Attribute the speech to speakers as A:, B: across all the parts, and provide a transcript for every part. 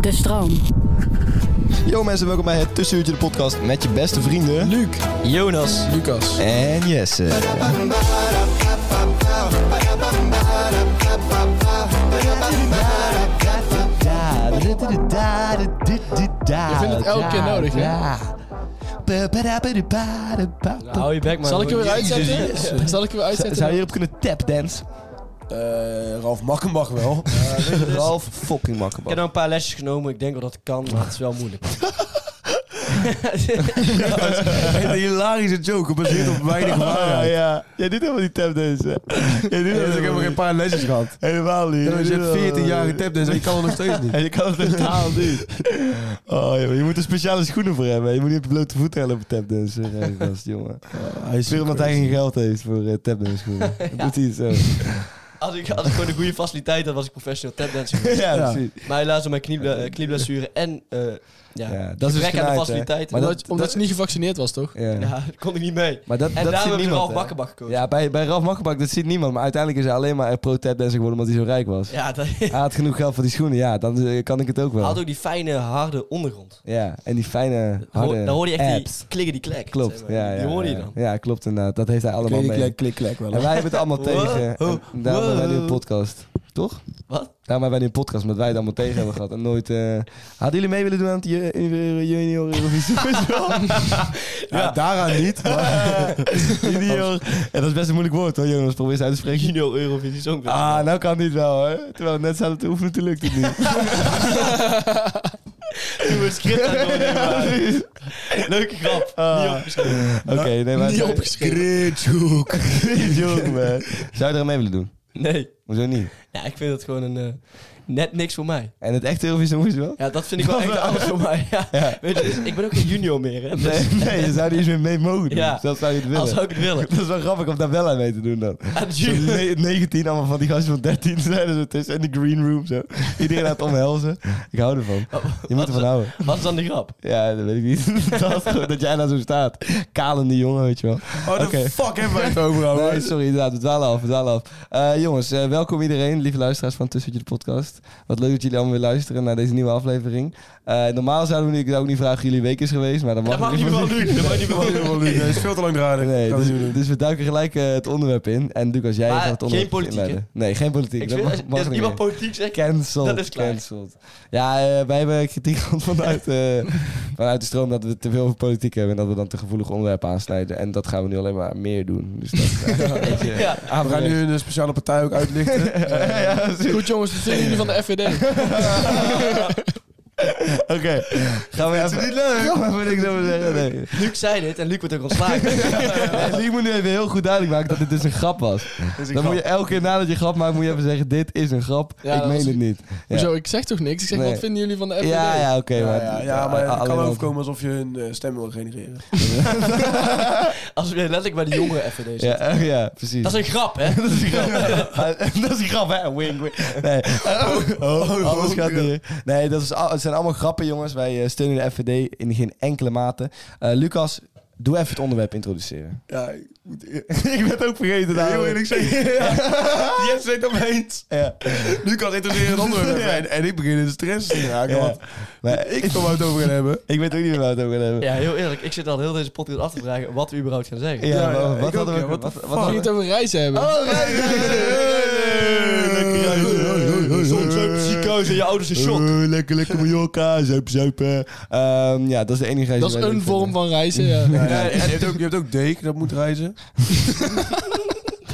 A: De stroom.
B: Yo mensen, welkom bij het Tussenuurtje de podcast met je beste vrienden... Luc, Jonas
C: Lucas.
B: en Jesse.
C: Je vindt het elke keer nodig, hè?
B: Hou je bek man.
C: Zal ik hem weer uitzetten? Zal ik hem weer uitzetten?
B: Nou, Oh, Zou je hierop kunnen tapdance?
C: Eh, Ralf Makken mag wel.
B: Ralf fucking makkelijk.
D: Ik heb nou een paar lesjes genomen. Ik denk wel dat het kan, maar het is wel moeilijk.
E: Een hilarische joke, gebaseerd op weinig
B: Ah,
E: waarheid.
B: ja. Jij doet helemaal die tapdance. hè? Jij doet
E: Ik heb
B: helemaal
E: helemaal geen
B: niet.
E: paar lesjes gehad.
B: Helemaal niet.
E: Je
B: Jij doet
E: hebt
B: helemaal
E: 14 jaar
B: niet.
E: getapt, dus ik kan het nog steeds niet.
B: En je kan het totaal niet. Oh, joh, je moet er speciale schoenen voor hebben. Je moet niet op je blote voeten gaan lopen tapdansen. Gekke gast, jongen.
D: Oh,
B: hij is omdat hij geen geld heeft voor eh tapdance schoenen. Dat doet hij het zo.
D: Als ik, als ik gewoon een goede faciliteit had, was ik professioneel tapdancer geweest.
B: ja,
E: Ja.
B: precies.
D: Maar helaas door mijn knieble- eh, knieblessure en eh ja,
B: Ja, dat is
D: gebrek aan
B: genaaid,
D: de
B: hè.
D: faciliteiten.
B: Maar
C: omdat
B: dat-
C: omdat
B: dat-
C: ze niet gevaccineerd was, toch?
B: Ja.
D: ja, daar kon ik niet mee.
B: Maar dat,
D: En
B: dat ziet
D: daarom hebben we
B: niemand,
D: Ralf
B: hè.
D: Bakkenbak gekozen. Ja,
B: Ja, bij, bij Ralf Makkenbak, dat ziet niemand. Maar uiteindelijk is hij alleen maar pro-tapdancer geworden omdat hij zo rijk was.
D: dat,
B: Hij had genoeg geld voor die schoenen. Ja, dan eh, kan ik het ook
D: hij
B: wel.
D: had ook die fijne, harde ondergrond.
B: Ja, en die fijne
D: Daar hoor-
B: harde
D: daar hoorde je echt
B: abs.
D: die klikken die klek.
B: Klopt,
D: zeg maar.
B: ja, ja.
D: Die hoorde je
B: ja.
D: dan.
B: Ja, klopt inderdaad. Dat heeft hij allemaal mee.
C: Klik, klik, klik wel.
B: En wij hebben het allemaal tegen.
D: Wow.
B: En daarom hebben wij nu een podcast. Toch?
D: Wat?
B: Daarom hebben wij nu een podcast, omdat wij het allemaal tegen hebben gehad. En nooit... eh, Hadden jullie mee willen doen aan het ju- junior junior Eurovisie Festival?
E: Ja, daaraan niet. maar-
B: Junior. En dat is best een moeilijk woord hoor, Jonas. Probeer eens uit te spreken.
D: Junior Eurovisie Songfestival.
B: Ah, nou kan dit wel hoor. Terwijl we net zouden te oefenen, toen lukt het niet.
D: Toen we script aan het doornemen waren. Leuke grap. Niet opgeschreven.
B: Oké, nee maar...
C: Niet opgeschreven.
B: Gritjoek.
E: Oh,
B: Gritjoek, man. Zou je er aan mee willen doen?
D: Nee.
B: Hoezo niet?
D: Ja, ik vind dat gewoon een... eh, net niks voor mij.
B: En het echte Eurovisie Festival?
D: Ja, dat vind ik wel echt oud voor mij. Ja.
B: Ja.
D: Weet je, dus ik ben ook geen junior meer. Hè? Dus
B: Nee, nee, je zou er iets meer mee mogen doen.
D: Ja.
B: Zelfs zou je het willen.
D: Als zou ik het willen.
B: Dat is wel grappig om daar wel aan mee te doen dan.
D: Aan de
B: Zo
D: jury.
B: ne- 19 allemaal van die gasten van 13 zijn er zo tussen. En de green room zo. Iedereen aan het omhelzen. Ik hou ervan. Je moet ervan houden.
D: Oh, Wat is dan de grap?
B: Ja, dat weet ik niet. dat, is gewoon dat jij daar zo staat. Kalende jongen, weet je wel.
E: Oh, de
B: Oké.
E: fuck hebben wij het over, ouwe?
B: Nee, sorry, inderdaad. We dwalen af, we dwalen af. Eh, jongens, eh, welkom iedereen, lieve luisteraars van Tussentje de Podcast. Wat leuk dat jullie allemaal weer luisteren naar deze nieuwe aflevering. Eh, normaal zouden we nu, ik zou ook niet vragen hoe jullie week is geweest, maar dan mag
D: Dat mag
B: ik
D: niet wel doen. Dat mag niet wel doen.
E: Nee, het is veel te lang draaien.
B: Nee,
E: Gaan we
B: dus,
E: niet doen.
B: dus we duiken gelijk eh, het onderwerp in. En Lucas, jij
D: Maar
B: gaat het
D: geen
B: onderwerp
D: politiek,
B: inleiden. Nee, geen politiek.
D: Ik
B: dat
D: vind,
B: mag,
D: als,
B: mag
D: als
B: niet
D: iemand
B: meer.
D: politiek zegt...
B: Cancelled.
D: Dat is klaar.
B: cancelled. Ja, eh, wij hebben kritiek gehad vanuit, eh, vanuit de stroom dat we te veel over politiek hebben. En dat we dan te gevoelig onderwerpen aansnijden. En dat gaan we nu alleen maar meer doen. Dus dat is een beetje
D: Ja.
E: Ah, We gaan nu een eh, speciale partij ook uitlichten.
C: Goed, jongens, dat zijn jullie van de FVD.
B: Oké, gaan we even... niet leuk. Gaan we niks over zeggen, nee.
D: Luc zei dit en Luc wordt ook ontslagen.
B: Nee, dus ik moet nu even heel goed duidelijk maken dat dit dus een grap was. dan moet je elke keer nadat je een grap maakt, moet je even zeggen, dit is een grap.
C: Ja,
B: ik
C: dat
B: meen
C: was-
B: het niet. Ja.
C: Hoezo, ik zeg toch niks? Ik zeg,
B: Nee.
C: wat vinden jullie van de FVD?
B: Ja, ja, oké.
E: Ja,
B: maar,
E: ja, ja, maar het
B: alleen
E: kan
B: al-
E: overkomen alsof je een eh, stem wil genereren.
D: Als we letterlijk bij de jongere FVD zitten.
B: Ja, eh, ja, precies.
D: Dat is een grap, hè? Dat is een grap.
B: dat is een grap, hè? Wing, wing. Nee, oh, alles
E: oh,
B: gaat niet. Nee, dat is, al- het zijn allemaal grappen, jongens. Wij eh, steunen de FVD in geen enkele mate. Eh, Lucas, doe even het onderwerp introduceren.
E: Ja, ik moet eer-
B: ik ben het ook vergeten.
E: heel eerlijk zeggen. Jesse zegt opeens.
B: Ja.
E: Nu kan introduceren het onderwerp. En, en ik begin in de stress te raken.
B: Ja.
E: Want
B: Maar
E: ik wil het over gaan hebben.
B: Ik weet ook niet meer waar we het over gaan hebben.
D: Ja, heel eerlijk. Ik zit al heel deze podcast af te vragen wat we überhaupt gaan zeggen.
B: Ja,
E: Ja,
B: maar
E: ja,
B: wat
E: ik
B: hadden
E: ook,
B: we...
E: ja. What
B: wat-
E: the
B: wat
E: fuck?
C: Mag
B: hadden
C: je
B: we-
C: het over reizen hebben?
B: Oh, nee, nee, nee, nee, nee, nee,
D: Lekker. Zon, zuip, ziekenhuis en je ouders in shock.
B: Eh, lekker, lekker Mallorca, zuip, zuip. eh. Ehm, ja, dat is de enige reden.
C: Dat is
B: waarom
C: een
B: ik-
C: vorm van reizen, ja.
E: Ja, en je, hebt ook, je hebt ook Deek, dat moet reizen.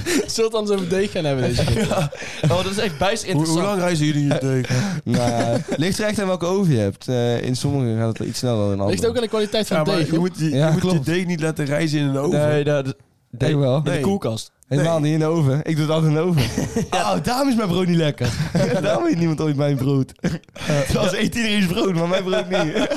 C: Zullen we het anders over deeg gaan hebben deze keer?
D: Oh, dat is echt bijst
E: Hoe, hoe
D: interessant.
E: lang reizen jullie in je Deek?
B: Nou, ligt er echt aan welke oven je hebt. Eh, in sommige gaat het iets sneller dan in andere.
C: Ligt ook aan de kwaliteit van
E: Ja, maar
C: deeg.
E: je
C: hoor.
E: moet je, je
B: Ja,
E: moet je
B: klopt.
E: Deek niet laten reizen in een oven.
D: Nee, dat
B: Denk wel.
D: in de
E: Nee.
D: koelkast.
B: Helemaal niet in de oven. Ik doe het altijd in de oven. Oh, daarom is mijn brood niet lekker. daarom eet niemand ooit mijn brood. Zoals eet iedereen's brood, maar mijn brood niet.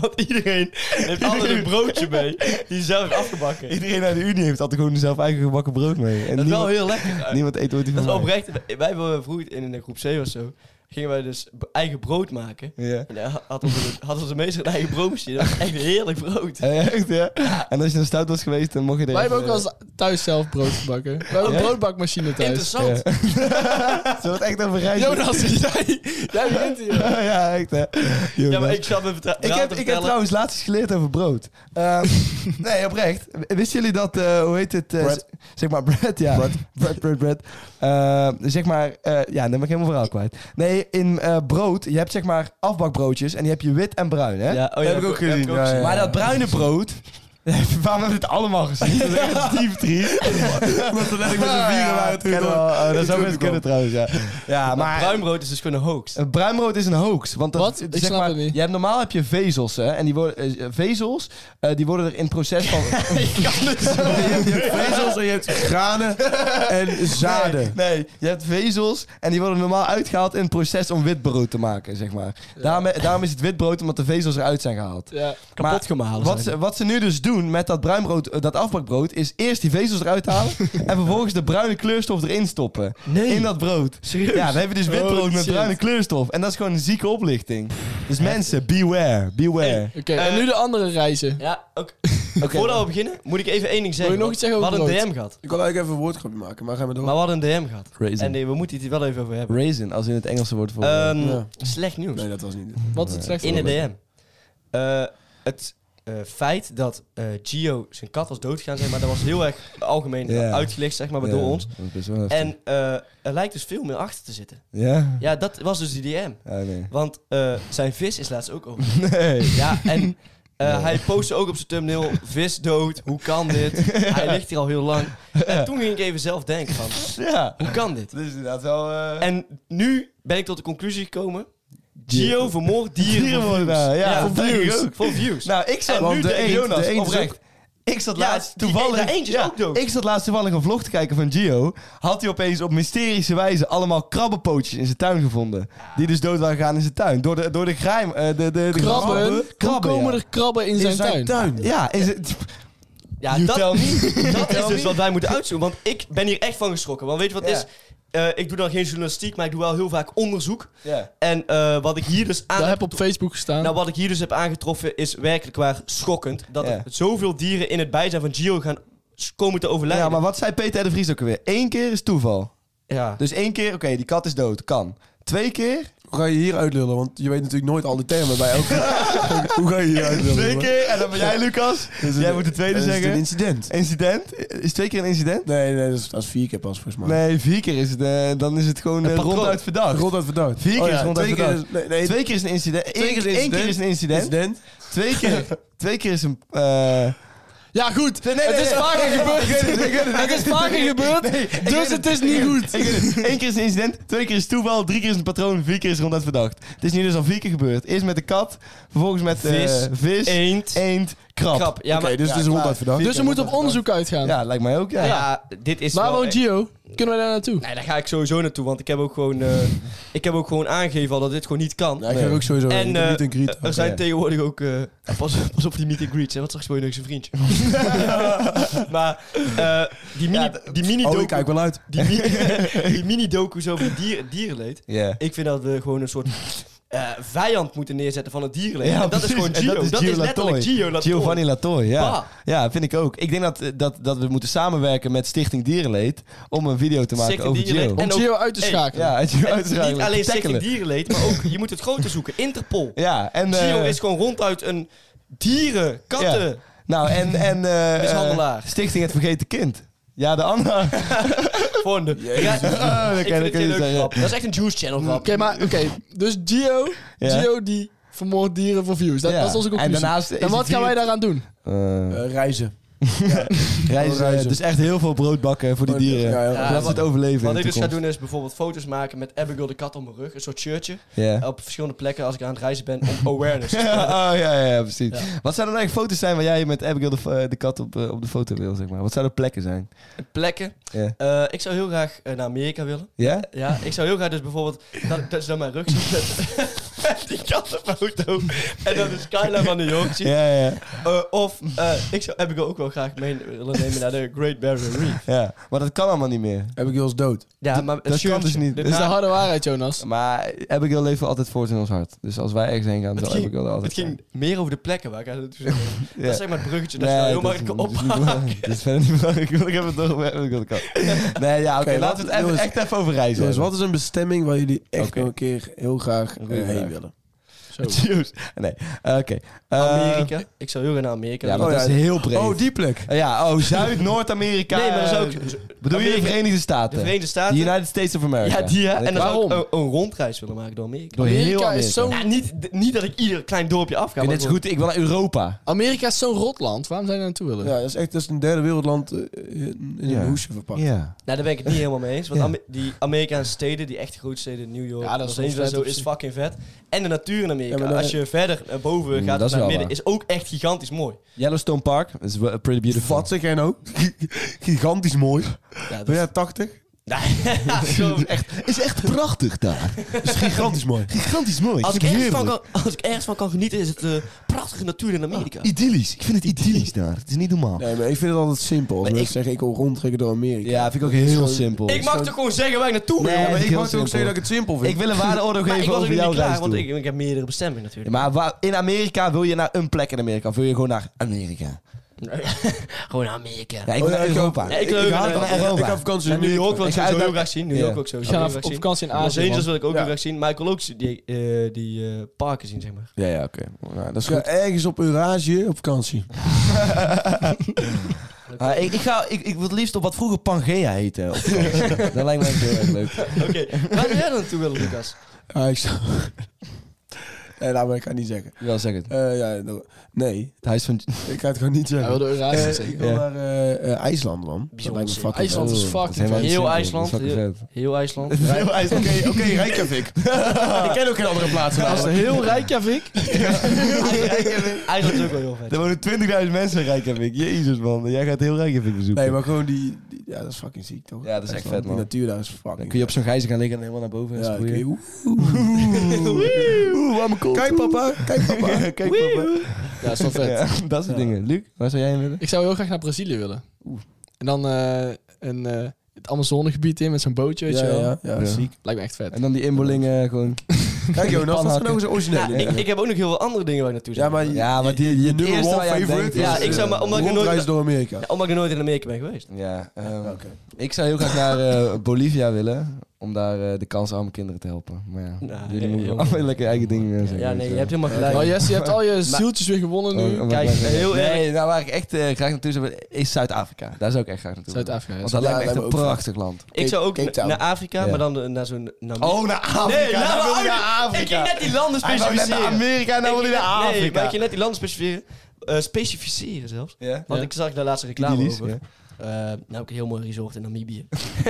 D: Want iedereen heeft altijd een broodje mee die ze zelf heeft afgebakken. Dat
B: Iedereen uit de Unie heeft altijd gewoon zelf eigen gebakken brood mee. En
D: is wel
B: niemand,
D: heel lekker.
B: niemand eet ooit die
D: Dat
B: van
D: is
B: mij.
D: oprecht. Wij hebben vroeger in de groep C of zo, gingen wij dus b- eigen brood maken.
B: Ja.
D: En daar had onze, had onze meester een eigen broodmachine. Dat was echt heerlijk brood.
B: Eh, Echt, ja? En als je dan stout was geweest, dan mocht je er
C: Wij hebben ook
B: even-
C: wel eens thuis zelf brood gebakken. We hebben een
B: Ja?
C: broodbakmachine thuis.
B: eh,
D: Interessant.
B: Zullen we het echt over reizen?
C: Jonas, jij, jij begint hier.
B: ja, echt hè.
D: Ja, maar
B: Jonas.
D: ik zal me vertra-
B: Ik
D: verhaal
B: heb, ik
D: te
B: heb
D: vertellen.
B: trouwens laatst iets geleerd over brood. Ehm, nee, oprecht. Wisten jullie dat, eh, hoe heet het? eh,
E: Bread.
B: z- Zeg maar bread, ja. Bread, bread, bread. bread. Ehm, zeg maar, eh, ja, dan ben ik helemaal verhaal kwijt. Nee, in eh, brood, je hebt zeg maar afbakbroodjes en die heb je wit en bruin, hè?
D: Ja, oh, ja,
E: Heb ik ook
D: heb
E: gezien, ja, ja.
B: Maar dat bruine brood... Waarom hebben we het allemaal gezien? Dat is echt diep triest.
E: Omdat we net ik met z'n vieren waren toen.
B: Ken wel,
E: dan-
B: eh,
E: toen
B: dat zou
E: toen
B: best kunnen
E: kwam.
B: trouwens, ja. Ja, maar...
D: Bruin brood is dus gewoon een hoax.
B: Een bruinbrood is een hoax. Want dat,
C: Wat?
B: zeg
C: Ik snap
B: maar,
C: het niet.
B: Je hebt, normaal heb je vezels, hè? En die worden, eh, vezels, eh, die worden er in het proces van...
E: Je hebt vezels en je hebt granen en zaden.
B: Nee, nee, je hebt vezels en die worden normaal uitgehaald in het proces om wit brood te maken, zeg maar. Daarom, daarom is het wit brood omdat de vezels eruit zijn gehaald.
C: Ja.
D: Kapot gemalen
B: Wat
D: zijn.
B: ze, wat ze nu dus doen met dat bruinbrood, eh, dat afbakbrood, is eerst die vezels eruit halen en vervolgens de bruine kleurstof erin stoppen.
D: Nee.
B: In dat brood.
D: Serieus?
B: Ja, we hebben dus wit
C: Oh,
B: brood met
C: shit.
B: bruine kleurstof. En dat is gewoon een zieke oplichting. Dus mensen, beware, beware.
C: Oké, en
B: Eh,
C: nu de andere reizen.
D: Ja, ook. Voordat we beginnen, moet ik even één ding zeggen.
C: nog
D: want
C: iets zeggen
D: We
C: over
D: hadden een
C: brood?
D: DM gehad.
E: Ik wil eigenlijk even een woordgrapje maken, maar gaan we door.
D: Maar we hadden een DM gehad.
B: Raisin.
D: En eh, we moeten het hier wel even over hebben.
B: Raisin, als in het Engelse woord voor...
D: Ehm,
E: Ja.
D: Slecht nieuws.
E: nee, dat was niet.
C: Wat is het slechtste?
D: In de DM. Eh, het eh, feit dat eh, Gio zijn kat was doodgegaan, zeg maar, dat was heel erg algemeen
B: Ja.
D: uitgelicht, zeg maar, door ons. En eh, er lijkt dus veel meer achter te zitten.
B: Ja?
D: Ja, dat was dus die DM.
B: Ah, nee.
D: Want eh, zijn vis is laatst ook over.
B: Nee.
D: Ja, en eh, hij postte ook op zijn thumbnail: vis dood, hoe kan dit? Hij ligt hier al heel lang. En toen ging ik even zelf denken: van,
B: Ja.
D: hoe kan dit?
B: Dat is inderdaad wel... eh,
D: En nu ben ik tot de conclusie gekomen: Gio vermoord dieren. voor views.
B: Dierenmoordenaar, nou, ja, voor
D: voor views.
B: views.
D: Voor views.
B: Nou, ik zat
D: En
B: nu
D: nu
B: de,
D: de
B: eend,
D: Jonas,
B: de eend is
D: oprecht.
B: ook- Ik zat
D: Ja,
B: laatst
D: die-
B: toevallig...
D: de eend is ook dood.
B: Ik zat laatst toevallig een vlog te kijken van Gio. Had hij opeens op mysterische wijze allemaal krabbenpootjes in zijn tuin gevonden. Die dus dood waren gegaan in zijn tuin. Door de, door de grime... eh, de, de, de
C: Krabben? Hoe
B: Krabben,
C: komen
B: ja.
C: er krabben in
E: In
C: zijn, tuin?
B: Ja, is het...
D: Ja,
B: You
D: dat,
B: tell
D: dat is dus wat wij moeten uitzoeken. Want ik ben hier echt van geschrokken. Want weet je wat
B: Ja.
D: is? Eh, ik doe dan geen journalistiek, maar ik doe wel heel vaak onderzoek.
B: Ja.
D: En eh, wat ik hier dus aan
C: Daar heb op Facebook gestaan.
D: Nou, wat ik hier dus heb aangetroffen is werkelijk waar schokkend. Dat
B: Ja.
D: er zoveel dieren in het bijzijn van Gio gaan s- komen te overlijden.
B: ja, maar wat zei Peter R. de Vries ook alweer? Eén keer is toeval.
D: Ja.
B: Dus één keer, oké, die kat is dood. Kan. Twee keer?
E: Hoe ga je hier uitlullen? Want je weet natuurlijk nooit al de termen bij elkaar. Hoe ga je hier uitlullen?
B: Twee
E: hoor?
B: keer. En dan ben jij, Lucas.
E: Dat is
B: Jij
E: een-
B: moet de tweede
E: dat is
B: zeggen.
E: een incident.
B: Incident? Is twee keer een incident?
E: Nee, nee, dat is, dat is vier keer pas volgens mij.
B: Nee, vier keer is het. eh, dan is het gewoon eh,
D: patroon.
B: ronduit verdacht.
E: Ronduit verdacht.
B: Vier keer
E: Oh ja,
B: is ronduit
E: twee keer
B: verdacht.
E: is- nee, nee,
B: twee keer is een incident.
E: twee
B: Eén
E: keer is
B: één keer
E: incident.
B: is een incident.
E: incident.
B: Twee, keer, twee keer is een. eh,
C: Ja, goed.
B: Nee, nee,
C: het
B: nee,
C: is
B: nee.
C: vaker
B: Ik weet
C: gebeurd.
B: het, ik weet het, ik
C: Het is
B: weet het.
C: vaker gebeurd,
B: Nee, ik weet
C: dus het is niet goed.
B: Ik weet het. Eén keer is een incident, twee keer is toeval, drie keer is een patroon, vier keer is ronduit verdacht. Het is nu dus al vier keer gebeurd. Eerst met de kat, vervolgens met eh,
D: Vis,
B: vis
D: Dus Eend.
B: eend, krab.
D: Krab. Ja,
E: Oké,
D: maar,
E: dus
B: Ja,
E: het is
B: klaar.
E: ronduit verdacht.
C: Dus we moeten op onderzoek uitgaan.
B: Ja, lijkt mij ook. Ja.
D: ja, dit is
C: Waar
D: wel
C: woont
D: echt-
C: Gio? Kunnen we daar naartoe?
D: Nee, daar ga ik sowieso naartoe. Want ik heb ook gewoon, eh, ik heb ook gewoon aangegeven al dat dit gewoon niet kan.
E: Ja, ik heb ook sowieso
D: En,
E: en,
D: eh,
E: niet een greet.
D: Er zijn tegenwoordig ook... eh, pas, pas op voor die meet and greets, hè, want straks word je nog eens een vriendje. maar eh, die mini, die mini
E: Oh,
D: docu,
E: ik kijk wel uit.
D: die, mini, die mini docu's over dier, dierenleed.
B: Ja.
D: Ik vind dat we gewoon een soort eh, vijand moeten neerzetten van het dierenleed.
B: Ja,
D: en dat
B: precies.
D: is gewoon
B: En
D: Gio. Dat is,
B: Gio
D: letterlijk
B: Latoy.
D: Gio Latoy.
B: Giovanni Latoy, ja.
D: Bah.
B: Ja, vind ik ook. Ik denk dat, eh, dat, dat we moeten samenwerken met Stichting Dierenleed om een video te maken
D: Stichting
B: over
D: Dierenleed.
B: Gio.
D: En
C: Om
D: ook-
C: Gio uit te
D: Hey,
C: schakelen.
B: Ja, het Gio
D: En
B: uitschakelen.
D: niet alleen
B: Tackelen.
D: stichting dierenleed, maar ook je moet het grote zoeken. Interpol.
B: Ja, en... eh,
D: Gio is gewoon ronduit een dieren, katten.
B: Nou, en... en eh,
D: Mishandelaar.
B: eh, Stichting Het Vergeten Kind. Ja, de andere.
D: Volgende. Ja,
B: Ah, dat
D: ik
B: kan- dat
D: vind het
B: kan
D: een
B: je
D: leuke
B: zeggen.
D: grap. Dat is echt een Juice Channel
C: Oké,
D: grap.
C: maar oké. Dus Gio,
B: Ja.
C: Gio die vermoordt dieren voor
D: dus
C: views. Dat,
B: Ja.
C: dat is onze
B: En
C: conclusie. En,
B: daarnaast is
C: wat
B: het
C: gaan wij
B: hier-
C: daaraan doen?
B: Eh,
E: Eh, reizen.
B: reizen,
E: reizen.
B: Dus echt heel veel brood bakken voor die dieren.
E: Oh, Ja, ja.
D: Ja,
B: Zodat ze het overleven.
D: Wat
B: in
D: ik
B: de
D: dus ga
B: toekomst.
D: doen is bijvoorbeeld foto's maken met Abigail de kat op mijn rug. Een soort shirtje.
B: Ja.
D: Op verschillende plekken als ik aan het reizen ben om awareness. te spreiden.
B: Ja, oh, ja, ja, ja, precies. Wat zouden dan eigenlijk foto's zijn waar jij met Abigail de, eh, de kat op, eh, op de foto wil, zeg maar? Wat zouden plekken zijn?
D: plekken.
B: Ja?
D: Eh, ik zou heel graag eh, naar Amerika willen.
B: Ja?
D: Ja, ik zou heel graag dus bijvoorbeeld... Dat, dat is dan mijn rugzak met die kattenfoto. En dan de skyline van New York zien.
B: Ja, ja,
D: Eh, of eh, ik zou Abigail ook wel graag mee willen nemen naar de Great Barrier Reef.
B: ja. Maar dat kan allemaal niet meer.
E: Abigail's dood.
D: Ja, maar
B: dat kan dus niet.
C: Dit is de harde waarheid, Jonas.
B: Maar Abigail leeft wel altijd voort in ons hart. Dus als wij ergens heen gaan,
D: Het
B: zal
D: ging,
B: Abigail er altijd
D: het ging
B: zijn.
D: meer over de plekken waar ik aan het doen was. Dat
B: Ja.
D: is zeg maar het bruggetje dat je
B: Nee,
D: nou heel
B: dat
D: makkelijk
B: is-
D: kan
B: dat is niet Dus,
D: ophaken.
B: belangrijk. Dat is verder niet belangrijk. Ik wil- Ik heb het nog met Abigail de kat. Nee, ja, oké.
E: Oké,
B: laten we
E: wat-
B: het even,
E: jongens.
B: echt even over reizen.
E: Dus
B: hebben.
E: wat is een bestemming waar jullie echt
B: Oké.
E: nog een keer heel graag eh,
B: Goeie vraag.
E: heen willen?
C: Zo.
B: Juice. Nee, Eh, oké. Eh,
D: Amerika. Ik zou heel graag naar Amerika
B: Ja,
D: willen.
B: maar dat is heel breed.
E: Oh, die plek.
B: Ja, oh, Zuid, Noord-Amerika.
D: Nee, maar dat is
B: eh,
D: ook...
B: Bedoel je de
D: Amerika-
B: Verenigde Staten?
D: De Verenigde
B: De
D: Staten.
B: United States of America.
D: Ja, die ja. En dan zou ik
C: Waarom?
D: een, een rondreis willen maken door Amerika.
B: Door Oh, heel
C: Amerika
B: Amerika.
C: is zo'n
D: Ja, niet, d- niet dat ik ieder klein dorpje
B: En
D: afga. maar
B: dit is
D: gewoon-
B: goed, ik wil naar Europa.
C: Amerika is zo'n rotland. Waarom zijn we naartoe willen?
E: Ja, dat is echt dat is een derde wereldland eh, in, in
B: Ja.
E: een hoesje verpakt.
B: Ja.
D: Nou, daar ben ik het niet helemaal mee eens. Want
B: Ja.
D: Ame- die Amerikaanse steden, die echt grote steden, New York,
C: Ja, dat
D: Los
C: is wel
D: Angeles, en
C: vet
D: zo,
C: op
D: is
C: zich.
D: fucking vet. En de natuur in Amerika.
E: Ja, maar dan-
D: Als je verder naar boven
B: Mm,
D: gaat,
B: dat is
D: naar
B: wel
D: midden,
B: waar.
D: is ook echt gigantisch mooi.
B: Yellowstone Park, dat is wel pretty beautiful.
E: Vat zeg jij nou? Gigantisch mooi.
D: Ja, dat
E: Ben
D: is,
E: jij 80?
D: Ja, Ah, zo-
B: is echt prachtig daar.
E: Dat is gigantisch mooi.
B: Gigantisch mooi.
D: als, ik ergens van kan, als ik ergens van kan genieten, is het eh, prachtige natuur in Amerika.
B: Idyllisch. Ik vind het idyllisch daar. Het is niet normaal.
E: Nee, maar ik vind het altijd simpel. Als
D: Maar
E: mensen
D: ik-
E: zeggen, ik wil rondtrekken door Amerika.
B: Ja, vind ik ook heel simpel.
D: ik mag toch gewoon zeggen waar ik naartoe wil?
B: Nee,
E: Ja, maar ik
B: heel
E: mag ook
B: simpel.
E: zeggen dat ik het simpel vind.
B: Ik wil een waardeoordeel
D: Maar ik
B: geven
D: was ook
B: over
D: niet
B: jouw
D: klaar,
B: reis
D: want
B: toe.
D: ik, ik heb meerdere bestemmingen natuurlijk.
B: Maar waar- in Amerika wil je naar een plek in Amerika. Of wil je gewoon naar Amerika?
D: Gewoon naar Amerika.
B: Ja, ik wil
E: Oh, ja,
B: naar
E: ik
B: Europa.
E: ook.
D: Ja, ik wil ook
B: haat
D: naar
B: het
D: Europa.
E: Ik ga vakantie in
D: New
E: Amerika.
D: York wil ik
B: Ik ga
D: sowieso
B: uit-
D: heel graag zien. New
B: Ja.
D: York wil ik
C: We
D: sowieso
C: gaan
D: heel
C: op,
D: graag
C: op
D: zien.
C: vakantie in
D: Los
C: Azië.
D: Angeles
C: man.
D: wil ik ook
E: Ja.
D: heel graag zien. Maar ik wil ook z- die, eh, die eh, parken zien, zeg maar.
B: Ja, ja, oké. Nou, dat is
E: Ik ga
B: goed.
E: ergens op Eurasie op vakantie.
B: Ah, ik, ik, ga, ik, ik wil het liefst op wat vroeger Pangea heette. op vakantie. dat lijkt me echt heel erg leuk.
D: Oké, waar zou jij dan naartoe willen, Lucas?
E: Ah, ik zou... Nee, laat maar, ik ga het niet zeggen.
B: Wel, zeg het.
E: Eh, ja, no- nee,
B: Het huis van...
E: ik ga het gewoon niet
C: Hij
E: zeggen.
C: wilde Eurasië
E: Eh, ik
C: zeggen.
E: wil
B: Ja.
E: naar eh, eh, IJsland, man. Dat lijkt me fucking
C: IJsland is fucking
B: helemaal niet
D: Heel
B: simpel.
D: IJsland,
B: Dat is fucking vet.
D: Heel IJsland.
B: Heel IJsland. Oké, oké, Reykjavik.
E: Ik ken ook geen andere plaatsen
C: Als er heel Reykjavik.
D: IJsland is ook wel heel vet.
B: Er wonen 20.000 mensen in Reykjavik. Jezus, man. Jij gaat heel Reykjavik bezoeken.
E: Nee, maar gewoon die, die- Ja, dat is fucking ziek, toch?
B: Ja, dat is echt
E: IJsland,
B: vet, man.
E: Die natuur daar is fucking...
B: Dan kun je op zo'n gijzer gaan liggen en helemaal naar boven.
E: vet.
B: en
E: Ja, dan kun
B: sproeien.
E: je... Oeh, I'm cool. Kijk, papa. Kijk, papa.
B: Kijk, papa.
C: Ja, is wel vet.
B: Ja, dat soort
E: Ja.
B: dingen. Luc, waar zou jij in willen?
C: Ik zou heel graag naar Brazilië willen. En dan eh, een, eh, het Amazonegebied in met zo'n bootje, weet
E: Ja,
C: je wel.
E: ja, ja,
B: Ja.
E: ziek.
C: Lijkt me echt vet.
B: En dan die inbollingen gewoon...
E: Kijk, Jonas, dat is
B: Panhakken.
E: nou zo origineel.
D: Nou, ik, ik heb ook nog heel veel andere dingen waar ik naartoe zou
E: Ja, maar
D: willen.
B: Ja, maar die,
E: je
B: het
E: nummer
B: eerste waar
E: one
B: je aan
E: favorite
B: denkt
E: is...
D: Ja,
B: is,
D: ik zou
B: eh,
D: maar- omdat ik nooit-
E: rondreis door Amerika.
D: Ja, omdat ik nooit in Amerika ben geweest.
B: Ja, ehm,
E: Oké.
B: ik zou heel graag naar eh, Bolivia willen. Om daar eh, de kans aan mijn kinderen te helpen. Maar ja,
D: Nou,
B: jullie moeten
D: heel-
B: allemaal lekker eigen dingen eh, zeggen.
D: Ja, nee, je
B: weet
D: hebt helemaal gelijk.
C: Oh Jesse, je hebt al je zieltjes weer gewonnen
B: wel.
C: nu.
B: Oh, oh,
D: Kijk,
B: wacht, wacht,
D: heel
B: wacht.
D: erg-
B: Nee, nou waar ik echt eh, graag naartoe zou willen is Zuid-Afrika. Daar zou ik echt graag naartoe willen.
C: Zuid-Afrika, ja.
B: Want dat
E: Ja,
B: lijkt me echt
E: lijkt
B: een
E: me ook
B: prachtig land.
D: ik zou ook
E: Cape
D: na-
E: Town.
D: naar Afrika,
B: Ja.
D: maar dan eh, naar zo'n... Naar
B: naar Afrika!
D: Nee, laat me uit. Ik ging net die landen
B: Hij wou net
D: specificeren.
B: naar Amerika en nou
D: Ik
B: wil hij
D: ging
B: naar
D: net- Nee, maar
B: Afrika.
D: ik ging net die landen specificeren. Eh, specificeren zelfs.
B: Ja?
D: Want
C: Ja.
D: ik zag daar laatst een reclame
B: Idyllisch,
D: over. Eh, nou, ook een heel mooi resort in Namibië.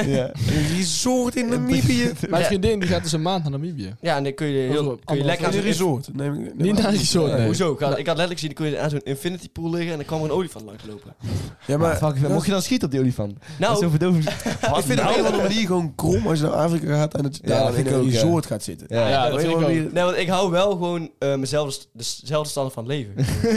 B: Ja.
E: Resort in Namibië.
C: Mijn
D: Ja.
C: vriendin die gaat dus een maand naar Namibië.
D: Ja, en dan kun je,
C: Over
D: heel,
C: op
D: kun je
C: andere
D: lekker aan
E: Een
D: zo'n
E: resort. Nee, nee,
C: Niet
E: maar-
C: naar een resort, nee.
D: Hoezo? Ik had,
B: Nou.
D: ik had letterlijk zien, dan kun je aan zo'n infinity pool liggen en dan kwam er een olifant langslopen.
E: Ja,
B: Maar
E: maar
B: fuck,
E: dat
B: mocht je dan schieten op die olifant? Dat is een
D: Nou,
B: verdoving.
E: Ik vind het op een of andere manier gewoon krom als je naar Afrika gaat en dat je
B: Nou. Ja,
E: daar
B: dat
E: in
B: vind ik
E: een
B: ook, ja.
E: resort gaat zitten.
B: Ja,
C: Ja,
B: ja,
C: dat vind ik ook.
E: Op een of andere manier-
D: nee, want ik hou wel gewoon eh, mezelf de- dezelfde standaard van leven.
B: ja,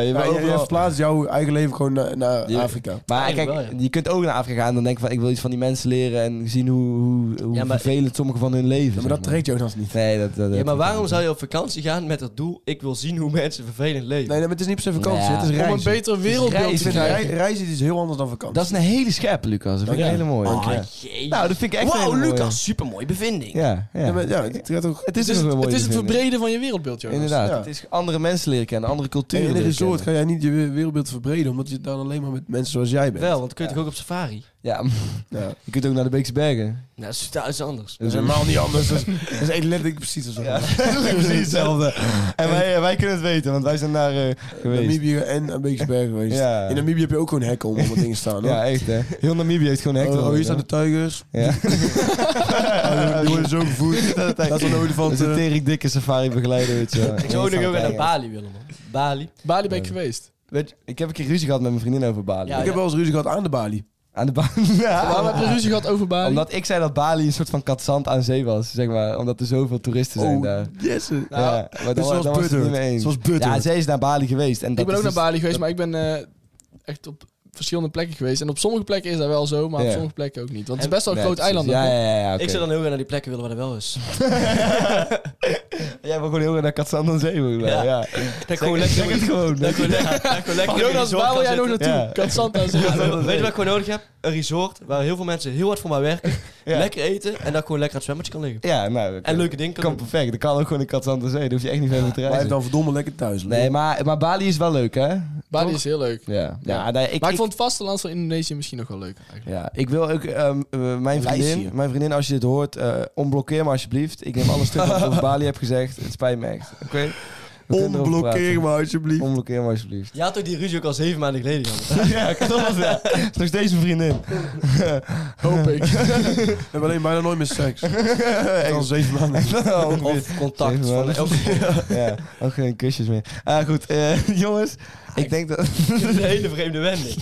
B: je bent
E: Ja, je- je
B: overal-
E: verplaatst jouw eigen leven gewoon naar, naar
B: Ja.
E: Afrika.
B: Maar kijk,
D: Eigenlijk wel, ja.
B: je kunt ook naar Afrika gaan en dan denken van ik wil iets van die mensen leren en zien hoe, hoe, hoe
D: Ja, maar-
B: vervelend sommige van hun leven.
E: Ja,
B: zeg
E: maar dat trekt Jonas niet.
B: Nee, dat, dat,
D: Ja, maar waarom zou je op vakantie gaan met het doel, ik wil zien hoe mensen vervelend leven?
E: Nee, nee, maar het is niet per se vakantie,
B: Ja.
E: het is
C: Om een
E: reizen.
C: beter wereldbeeld
E: Ik
C: te
E: vind
C: krijgen.
E: rei- reizen is dus heel anders dan vakantie.
B: Dat is een hele scherpe, Lucas. Dat vind ik
E: Ja.
B: een hele mooie.
D: Ah,
B: Ja.
D: jee.
B: Nou, dat vind ik echt een
D: Wauw,
B: hele mooie.
D: Lucas, supermooi bevinding.
B: Ja, ja.
E: ja, maar, ja, het gaat toch...
B: het
C: Het
B: is,
C: is
B: ook een
C: het,
B: mooie
C: het is het
B: bevinding.
C: verbreden van je wereldbeeld, Jonas.
B: Inderdaad,
E: Ja.
B: het is andere mensen leren kennen, andere
E: In
B: culturen
E: een
B: leren
E: resort
B: kennen.
E: ga jij niet je wereld- wereldbeeld verbreden, omdat je dan alleen maar met mensen zoals jij bent.
D: Wel, want dan kun je toch ook op safari?
B: Ja,
E: Ja.
B: je kunt ook naar de Beekse Bergen.
D: Nou, dat is totaal iets anders.
E: Dat is helemaal niet anders. Dat is, dat is echt letterlijk precies hetzelfde.
B: Ja, precies hetzelfde. En wij, eh, wij kunnen het weten, want wij zijn daar eh, geweest.
E: Namibië en een beetje berg geweest.
B: Ja.
E: In Namibië heb je ook gewoon hekken om allemaal dingen staan. hoor.
B: Ja, echt hè. Heel Namibië heeft gewoon hector.
E: oh, oh, hier staan de tijgers.
B: Ja.
E: Oh, die worden zo gevoed.
B: Dat
E: Dat is een
B: Dat is een
E: olifant. eh.
B: tering dikke safari begeleider, weet je wel.
D: Ik zou ook nog even naar Bali willen, man. Bali.
C: Bali ben ik geweest.
B: Weet je, ik heb een keer ruzie gehad met mijn vriendin over Bali.
D: Ja,
E: Ik heb wel eens ruzie gehad aan de balie.
B: Aan de baan. Ja.
C: Waarom heb je ruzie gehad over Bali?
B: Omdat ik zei dat Bali een soort van katzand aan zee was, zeg maar. Omdat er zoveel toeristen
E: Oh.
B: zijn daar.
E: yes.
B: ja, maar
E: dus
B: dan,
E: zoals
B: dan was het niet
E: Butter.
B: mee eens.
E: Zoals Butter.
B: Ja, zij is naar Bali geweest. En dat
C: ik ben
B: is
C: ook naar
B: dus-
C: Bali geweest, maar ik ben eh, echt op verschillende plekken geweest. En op sommige plekken is dat wel zo, maar
B: Ja.
C: op sommige plekken ook niet. Want het is
D: En-
C: best wel een
B: Nee,
C: groot
B: precies.
C: eiland.
B: Ja,
C: ook, hoor.
B: ja, ja. ja,
D: Ik
B: oké.
D: zou dan heel graag naar die plekken willen waar dat wel is.
B: Jij wil gewoon heel erg naar katzand aan zee willen. Ja.
D: Ja.
B: ja.
D: Dat ik gewoon lekker...
B: Zeg het gewoon.
D: Dat ik gewoon lekker- dat ik gewoon lekker... in
C: Jonas,
D: die zon
C: waar
D: kan
C: wil jij nog
D: zitten.
C: naartoe?
B: Ja.
C: Kan Santa
D: Ja,
C: zeggen.
D: weet je wat ik gewoon nodig heb? Een resort waar heel veel mensen heel hard voor mij werken.
B: Ja.
D: Lekker eten en dat ik gewoon lekker aan het zwembadje kan liggen.
B: Ja, nou. dat
D: En leuke dingen kan
B: Kan
D: doen.
B: perfect. Dat kan ook gewoon in katzand aan zee. Daar hoef je echt niet veel voor te
E: Blijf
B: reizen.
E: dan verdomme lekker thuis. lul.
B: Nee, maar, maar Bali is wel leuk, hè?
C: Bali is heel leuk.
B: Ja. Ja, nee, ik,
C: maar ik,
B: ik-
C: vond het vasteland van Indonesië misschien nog wel leuk. eigenlijk.
B: Ja, ik wil ook ehm, eh, mijn,
E: Lijstje.
B: vriendin, mijn vriendin, als je dit hoort, eh onblokkeer me alsjeblieft. Ik neem alle stukken wat ik over Bali heb gezegd. Het spijt me echt. Oké? We kunnen erover
E: Onblokkeer
B: praten.
E: me alsjeblieft.
B: Onblokkeer me alsjeblieft.
D: Je had toch die ruzie ook al zeven maanden geleden gehad?
B: ja, klopt. Ja. Het is nog steeds een vriendin.
C: Hoop ik.
E: We hebben alleen bijna nooit meer seks.
B: Echt.
E: Al zeven maanden.
B: Oh,
D: Of
B: Zeven
D: contact van
B: maanden.
D: elke
B: ja, ook geen kusjes meer. Ah, goed, eh, jongens. Ik denk dat...
D: een hele vreemde wending.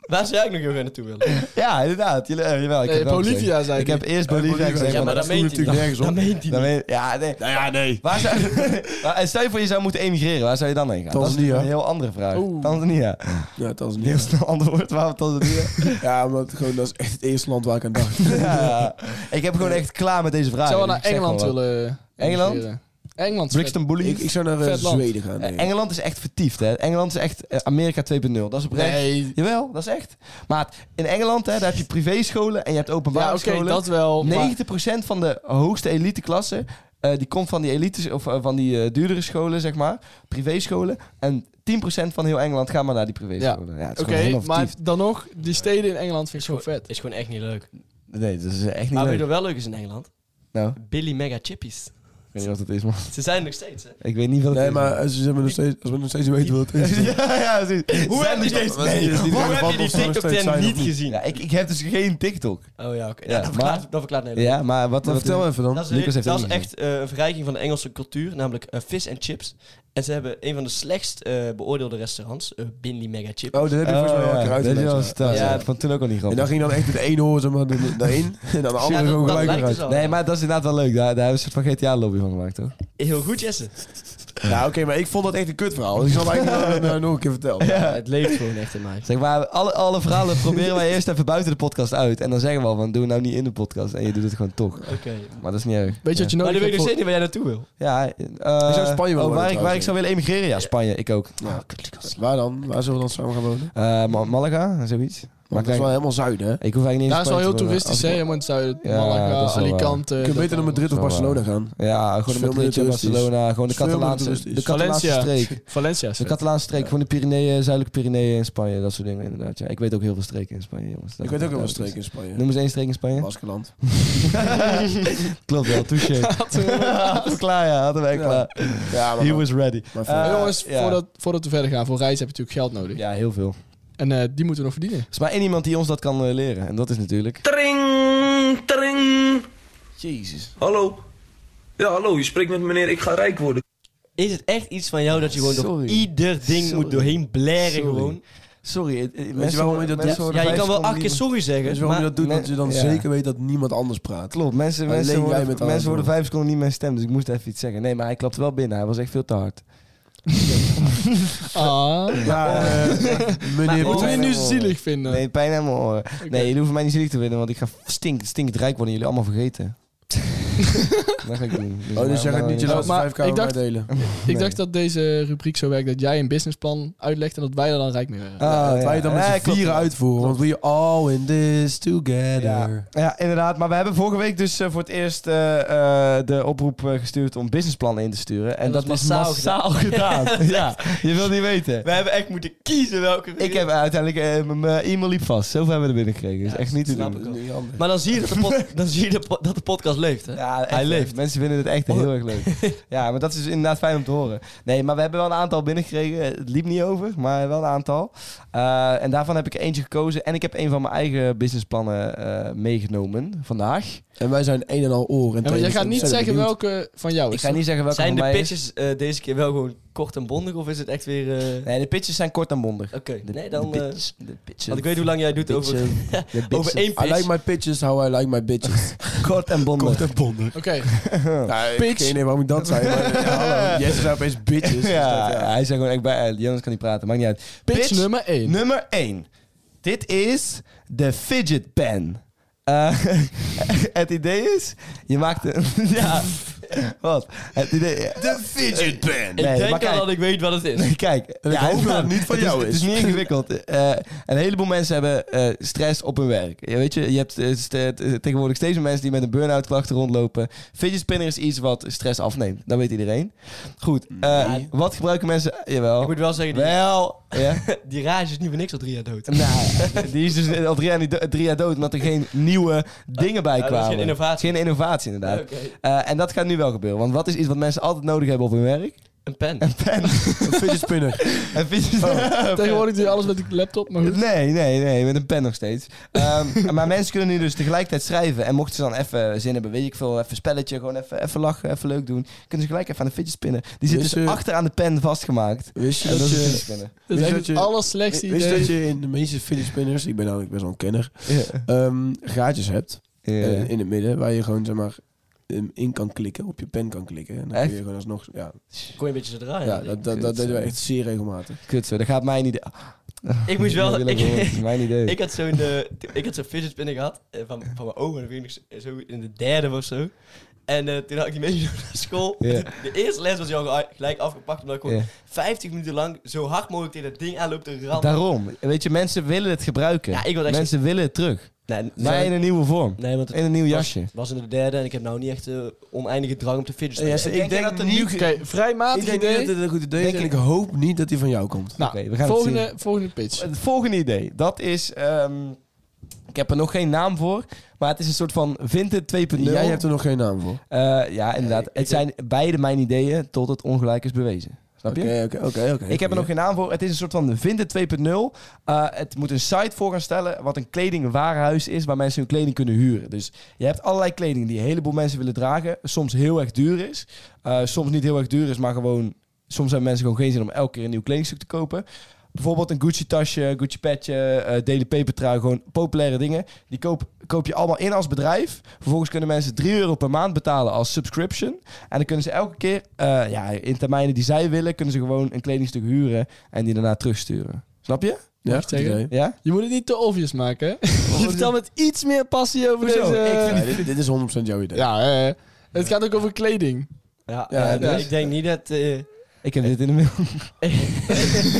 D: Waar zou ik nog heel graag naartoe willen?
B: ja, inderdaad. Jullie, eh, jawel, ik
C: Nee,
B: heb het ook gezegd.
C: Bolivia zei
B: Ik heb eerst Bolivia
E: Eh, Bolivia.
B: gezegd.
D: Ja, maar
B: maar
D: dat
E: sloeg
D: meent hij
E: natuurlijk nergens
D: Dat
E: op.
D: meent hij
B: dan
D: niet.
B: weet- Ja, nee.
E: Nou ja, nee.
B: Waar zou, Maar stel je voor, je zou moeten emigreren. Waar zou je dan heen gaan? Dat is
E: Tanzania.
B: een heel andere vraag.
C: Oeh.
B: Tanzania.
E: Ja, dat is niet.
B: Heel snel antwoord, waarom Tanzania?
E: Ja, maar het- gewoon, dat is echt het eerste land waar ik aan dacht.
B: ja. Ik heb gewoon echt klaar met deze
C: Ik
B: vraag.
C: zou wel
B: Dus
C: naar
B: ik zeg
C: Engeland
B: gewoon wat.
C: willen.
B: Engeland?
C: emigreren. Engeland. is vet.
B: Brixton Bully.
E: Ik, ik zou naar eh,
C: Vet land.
E: Zweden gaan. denk ik.
B: Eh, Engeland is echt vertiefd, hè. Engeland is echt eh, Amerika 2.0. Dat is oprecht.
C: Nee.
B: Jawel, dat is echt. Maar in Engeland, hè, daar heb je privéscholen en je hebt openbare
C: Ja, oké,
B: scholen.
C: dat wel. maar-
B: 90% van de hoogste elite klasse, eh, die komt van die elite, of eh, van die eh, duurdere scholen, zeg maar. Privéscholen. En 10% van heel Engeland gaat maar naar die privéscholen. Ja, het is
C: Oké,
B: gewoon helemaal
C: maar
B: vertiefd.
C: dan nog, die steden in Engeland vind ik zo vet.
D: Is gewoon echt niet leuk.
B: Nee, dat is echt niet
D: Maar weet
B: leuk.
D: je wat wel leuk is in Engeland?
B: Nou,
D: Billy Mega Chippies.
B: ik weet niet wat het is, man.
D: Ze zijn er nog steeds, hè?
B: Ik weet niet wat het
E: Nee,
B: is.
E: maar als, ze hebben nog steeds, als we nog steeds niet weten wat het is.
B: ja, ja, precies.
D: Hoe
B: Zijn
D: heb je
B: er
D: die-
B: steeds- Nee,
E: Is die
D: Hoe
E: er
D: heb
E: nog
D: je
E: wat
D: die
E: of ze nog
D: TikTok
E: steeds zijn
D: ten
E: of
D: niet gezien?
B: Ja, ik, ik heb dus geen TikTok.
D: Oh ja, oké.
B: Ja,
D: Ja, dat
B: maar-
D: verklaart- dat verklaart Nederland.
B: Ja, maar wat...
E: Nou,
B: wat
E: vertel even dan.
D: Dat is,
B: Lucas heeft
D: dat
B: ook
D: is
B: niet
D: echt eh, een verrijking van de Engelse cultuur, namelijk eh, vis en chips. En ze hebben een van de slechtst eh, beoordeelde restaurants, eh Bindi Mega Chip.
E: Oh, dat heb je volgens mij al een keer
B: dat heb Eh, je al eens
E: uitgelegd. ja.
B: verteld, ja.
D: Ja.
B: Ik vond toen ook al niet
E: En
B: grappig.
E: dan ging dan echt het ene oor zeg maar, de- daarin en dan de andere
D: Ja, dat-
E: gewoon
D: dat
E: gelijk
D: lijkt
E: eruit.
D: dus al.
B: Nee, maar dat is inderdaad wel leuk. Daar, daar hebben ze een soort van GTA-lobby van gemaakt, hoor.
D: Heel goed, Jesse.
E: Ja, Nou, oké, maar ik vond dat echt een kutverhaal. Dus ik zal het eigenlijk nog- nog- nog een keer vertellen.
D: het leeft gewoon echt in mij.
B: Zeg maar, alle, alle verhalen proberen wij eerst even buiten de podcast uit. En dan zeggen we al van, doe het nou niet in de podcast. En je doet het gewoon toch.
D: Oké.
B: Maar dat is niet erg.
C: Weet je wat je
D: Maar
C: nodig
D: nu
C: hebt?
D: weet ik nog
C: voor-
D: steeds niet waar jij naartoe wil. dus
B: Ja, eh,
E: Ik zou Spanje wel
B: oh, waar,
E: willen
B: ik, waar ik
E: trouwens.
B: zou willen emigreren? Ja, Spanje. Ik ook.
E: Ja, Waar dan? Waar zullen we dan samen gaan wonen?
B: Eh, Ma- Malaga, zoiets. Maar
E: Want dat is
B: kijk,
E: wel helemaal zuid, hè?
B: ik hoef eigenlijk niet in
C: Daar is wel
B: Spanje
C: heel
B: te wonen.
C: toeristisch, hè?
B: Als-
C: Helemaal in het zuiden.
B: Ja,
C: Malaga,
B: dat is wel waar.
C: Alicante.
E: Je kunt beter naar Madrid of
B: wel
E: Barcelona gaan.
B: Ja, gewoon
E: Veel
B: een beetje
E: minder toeristisch.
B: Barcelona. Gewoon de
E: Veel minder
B: Catalaanse, de
E: toeristisch.
B: Catalaanse
C: Valencia.
B: streek.
C: Valencia is
B: De
C: vet.
B: Catalaanse streek, gewoon de Pyreneeën, zuidelijke Pyreneeën in Spanje, dat soort dingen inderdaad. Ja. Ik weet ook heel veel streken in Spanje, jongens. Dat-
E: Ik weet ook wel een
B: dat-
E: streek in Spanje.
B: Noem eens één streek in Spanje.
E: Baskeland.
B: Klopt wel, touché. Hadden we klaar, ja. Hadden wij
E: Ja.
B: klaar.
E: Ja,
B: He
E: maar...
B: was ready.
E: maar
B: Eh,
C: Maar jongens,
B: ja.
C: voordat, voordat we verder gaan, voor reizen heb je natuurlijk geld nodig.
B: Ja, heel veel. Er
C: En eh, die moeten we nog verdienen.
B: is maar één iemand die ons dat kan eh, leren, en dat is natuurlijk...
F: Tring, tring.
E: Jezus.
F: Hallo. Ja, hallo, je spreekt met meneer, ik ga rijk worden.
D: Is het echt iets van jou dat je gewoon door
B: Sorry.
D: ieder ding
B: Sorry.
D: moet doorheen blaren
B: Sorry.
D: gewoon?
B: Sorry, het- het-
E: Weet je waarom je dat doet?
B: mensen horen
D: Ja, je
B: vijf
D: kan wel
B: seconden
D: acht keer
B: niet-
D: sorry
E: Weet je
D: zeggen,
E: waarom
D: maar
E: je dat doet?
B: maar-
E: Dat je dan
B: nee, ja.
E: zeker weet dat niemand anders praat.
B: Klopt, mensen,
E: Alleen
B: mensen,
E: jij
B: horen,
E: met alles,
B: mensen horen
E: man.
B: vijf seconden niet mijn stem, dus ik moest even iets zeggen. Nee, maar hij klapte wel binnen, hij was echt veel te hard.
C: Ah.
E: Ja, eh, meneer...
D: Maar-
C: Moeten we je nu
B: Oh.
C: zielig vinden?
B: Nee, pijn aan mijn oren.
C: Oké.
B: Nee, jullie hoeven mij niet ziek te vinden, want ik ga stink, stinkend rijk worden en jullie allemaal vergeten. Dat ga ik doen.
E: Oh, dus jij gaat niet je
C: Ja,
E: laatste
C: maar
E: vijf kamer
C: ik dacht-
E: delen.
C: Ik dacht dat deze rubriek zo werkt dat jij een businessplan uitlegt en dat wij er dan rijk mee werden.
B: Ah,
E: dat
B: ja.
E: wij het dan met
B: Ja,
E: z'n
B: klopt.
E: vieren uitvoeren. Want we all in this together.
B: Ja, ja, inderdaad. Maar we hebben vorige week dus eh, voor het eerst eh, eh, de oproep eh, gestuurd om businessplannen in te sturen. En,
D: En
B: dat,
D: dat
B: was
D: is massaal
B: massaal gedaan. ja, je wil niet weten.
D: We hebben echt moeten kiezen welke
B: Ik heb uiteindelijk, eh, m- mijn e-mail liep vast. Zoveel hebben we er binnen gekregen. is
D: Ja,
B: echt niet te
D: snap
B: doen.
D: ik Maar dan zie je dat de, pod- dan zie je de po- dat de podcast leeft, hè?
B: Ja, echt,
D: Hij
B: eh,
D: leeft.
B: Mensen vinden het echt heel erg leuk. Ja, maar dat is dus inderdaad fijn om te horen. Nee, maar we hebben wel een aantal binnengekregen. Het liep niet over, maar wel een aantal. Eh, en daarvan heb ik eentje gekozen. En ik heb een van mijn eigen businessplannen eh, meegenomen vandaag.
E: En wij zijn een en al oor. En
C: Ja, maar jij
E: tevens
C: gaat niet
E: ontzettend
C: zeggen
E: benieuwd.
C: welke van jou
B: Ik
C: is.
B: ga niet zeggen welke van
D: Zijn de
B: mij is.
D: pitches eh, deze keer wel gewoon kort en bondig of is het echt weer... eh,
B: Nee, de pitches zijn kort en bondig.
D: Oké, nee dan...
B: de
D: eh,
B: pitches. de pitches.
D: want ik weet hoe lang jij doet over, over één
E: I
D: pitch.
E: like my pitches how I like my bitches.
B: Kort en bondig.
E: en bonden.
C: Oké,
E: Nou, ik
C: Pitch.
E: weet niet waarom ik dat zei. Maar, ja, hallo. Jesse zei opeens bitches. dus
B: ja,
E: dat, ja.
B: hij zei gewoon echt bij... eh, Jonas kan niet praten, maakt niet uit.
C: pitch,
B: Pitch
C: nummer 1.
B: Nummer 1. Dit is de fidget pen. Eh, het idee is, je maakt een... ja, wat? Het idee... De fidget pen.
D: ik denk al dat ik weet wat het is.
B: Nee, Kijk,
E: ik hoop dat het niet van
B: is-
E: jou
B: Het is
E: is.
B: niet ingewikkeld. Eh, een heleboel mensen hebben eh, stress op hun werk. Je weet je, je hebt eh, st- eh, tegenwoordig steeds meer mensen die met een burn-out klachten rondlopen. Fidget spinner is iets wat stress afneemt. Dat weet iedereen. Goed, eh, wat gebruiken mensen? Jawel.
D: Ik moet wel zeggen, die,
B: Wel, ja.
D: die rage is niet voor niks al drie jaar dood.
B: Nou, die is dus al drie jaar, niet do- drie jaar dood omdat er geen nieuwe dingen bij
D: dat is
B: kwamen.
D: geen innovatie.
B: Geen innovatie, inderdaad.
D: Oké.
B: Eh, en dat gaat nu wel gebeuren. Want wat is iets wat mensen altijd nodig hebben op hun werk?
D: Een pen.
E: Een fidget spinner.
B: Een fidget
C: Tegenwoordig doe je alles met de laptop, maar goed.
B: Nee, nee, nee, met een pen nog steeds. Ehm, maar mensen kunnen nu dus tegelijkertijd schrijven. En mochten ze dan even zin hebben, weet ik veel, even spelletje, gewoon even, even lachen, even leuk doen. Kunnen ze gelijk even aan de fidget spinnen. Die zit
E: Dus,
B: dus
E: eh,
B: achter aan de pen vastgemaakt.
E: Wist je
B: En
E: dat
D: eh,
B: dat is een fidget
E: je...
B: spinner.
C: Dat
E: Wist
C: is
E: je
C: echt
E: dat je-
C: het allerslechtste
E: Wist je dat
C: idee.
E: je in de meeste fidget spinners, ik ben namelijk best wel een kenner,
B: Ja.
E: ehm, gaatjes hebt
B: Ja.
E: eh, in het midden waar je gewoon zeg maar ehm, in kan klikken, op je pen kan klikken. En dan
B: Echt?
E: kun je gewoon alsnog, ja,
D: Kon je een beetje zo draaien.
E: ja dat, dat, dat deden we echt zeer regelmatig.
B: Eh, Kut zo, dat gaat mij niet...
D: Ik moest wel...
B: Dat wil ik horen, dat
D: Ik,
B: is mijn idee.
D: ik had zo'n eh, ik had zo'n fidget spinner gehad eh, van, van mijn oom. En dan ging ik zo in de derde of zo. En eh, toen had ik die meegenomen naar school.
B: Ja.
D: De eerste les was hij al gelijk afgepakt. Omdat ik gewoon
B: Ja.
D: 50 minuten lang zo hard mogelijk tegen dat ding aanloop te rammen.
B: Daarom. Weet je, mensen willen het gebruiken.
D: Ja, ik wil echt
B: mensen willen het terug.
D: Nee,
B: Maar in een nieuwe vorm.
D: nee, want
B: In een nieuw jasje.
D: was in de derde en ik heb nou niet echt eh, oneindige drang om te fidget spinnen.
E: ik denk dat het
C: Oké, vrijmatig
E: Ik denk niet
C: idee.
E: dat dit een goed idee is
B: Denk
E: en
B: ik-
E: ik hoop niet dat die van jou komt.
C: Nou,
B: Oké, we gaan het
C: volgende, volgende pitch.
B: Het volgende idee, dat is... ehm, ik heb er nog geen naam voor, maar het is een soort van Vinted 2.0.
E: Jij hebt er nog geen naam voor.
B: Eh, ja, inderdaad. het zijn beide mijn ideeën tot het ongelijk is bewezen. Snap je?
E: Oké, oké, oké, oké.
B: Ik heb er nog geen naam voor. Het is een soort van Vinted 2.0. Eh, het moet een site voor gaan stellen wat een kledingwaarhuis is waar mensen hun kleding kunnen huren. Dus je hebt allerlei kleding die een heleboel mensen willen dragen. Soms heel erg duur is. eh, soms niet heel erg duur is, maar gewoon... Soms hebben mensen gewoon geen zin om elke keer een nieuw kledingstuk te kopen. Bijvoorbeeld een Gucci tasje, Gucci petje, eh Daily Paper trui. Gewoon populaire dingen. Die koop, koop je allemaal in als bedrijf. Vervolgens kunnen mensen 3 euro per maand betalen als subscription. En dan kunnen ze elke keer, eh, ja, in termijnen die zij willen, kunnen ze gewoon een kledingstuk huren en die daarna terugsturen. Snap je?
E: Ja,
C: Wacht, zeggen.
E: idee.
B: Ja?
C: Je moet het niet te obvious maken, hè? Je vertelt met iets meer passie over
B: Hoezo?
C: deze...
B: Ik
E: Ja, dit, dit is 100% jouw idee.
C: Ja, eh, het gaat ook over kleding.
D: Ja,
E: Ja,
D: eh,
E: dus-
D: ik denk niet dat... eh,
B: Ik heb dit in de mail.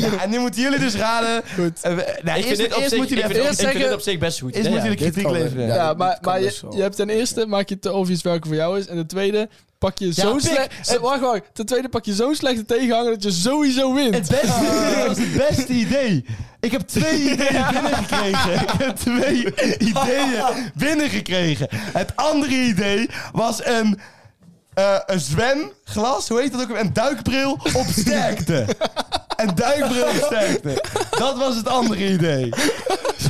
B: Ja, en nu moeten jullie dus raden.
C: Goed.
B: Eh, we- nou,
D: ik vind
B: eerst
D: dit op
B: eerst
D: zich-
B: moet jullie
D: ik
B: even...
D: vind-
C: eerst
D: Ik vind
C: zeggen-
D: dit op zich best goed.
B: Eerst
D: hè?
B: moeten jullie
E: dit
B: kritiek
E: kan wel.
B: leveren.
E: Ja,
C: Ja,
E: dit
C: maar,
E: kan
C: maar
E: best
C: je,
E: wel.
C: je hebt ten eerste maak je het te obvious welke voor jou is. En ten tweede pak je zo'n
B: pik.
C: slecht... Eh, Wacht, wacht. Ten tweede pak je zo'n slechte tegenhanger dat je sowieso wint.
B: Het beste, Eh, dat was het beste idee. Ik heb twee ideeën binnengekregen. Ik heb twee ideeën binnengekregen. Het andere idee was een, eh, een zwemglas, hoe heet dat ook? Een duikbril op sterkte. Een duikbril op sterkte. Dat was het andere idee.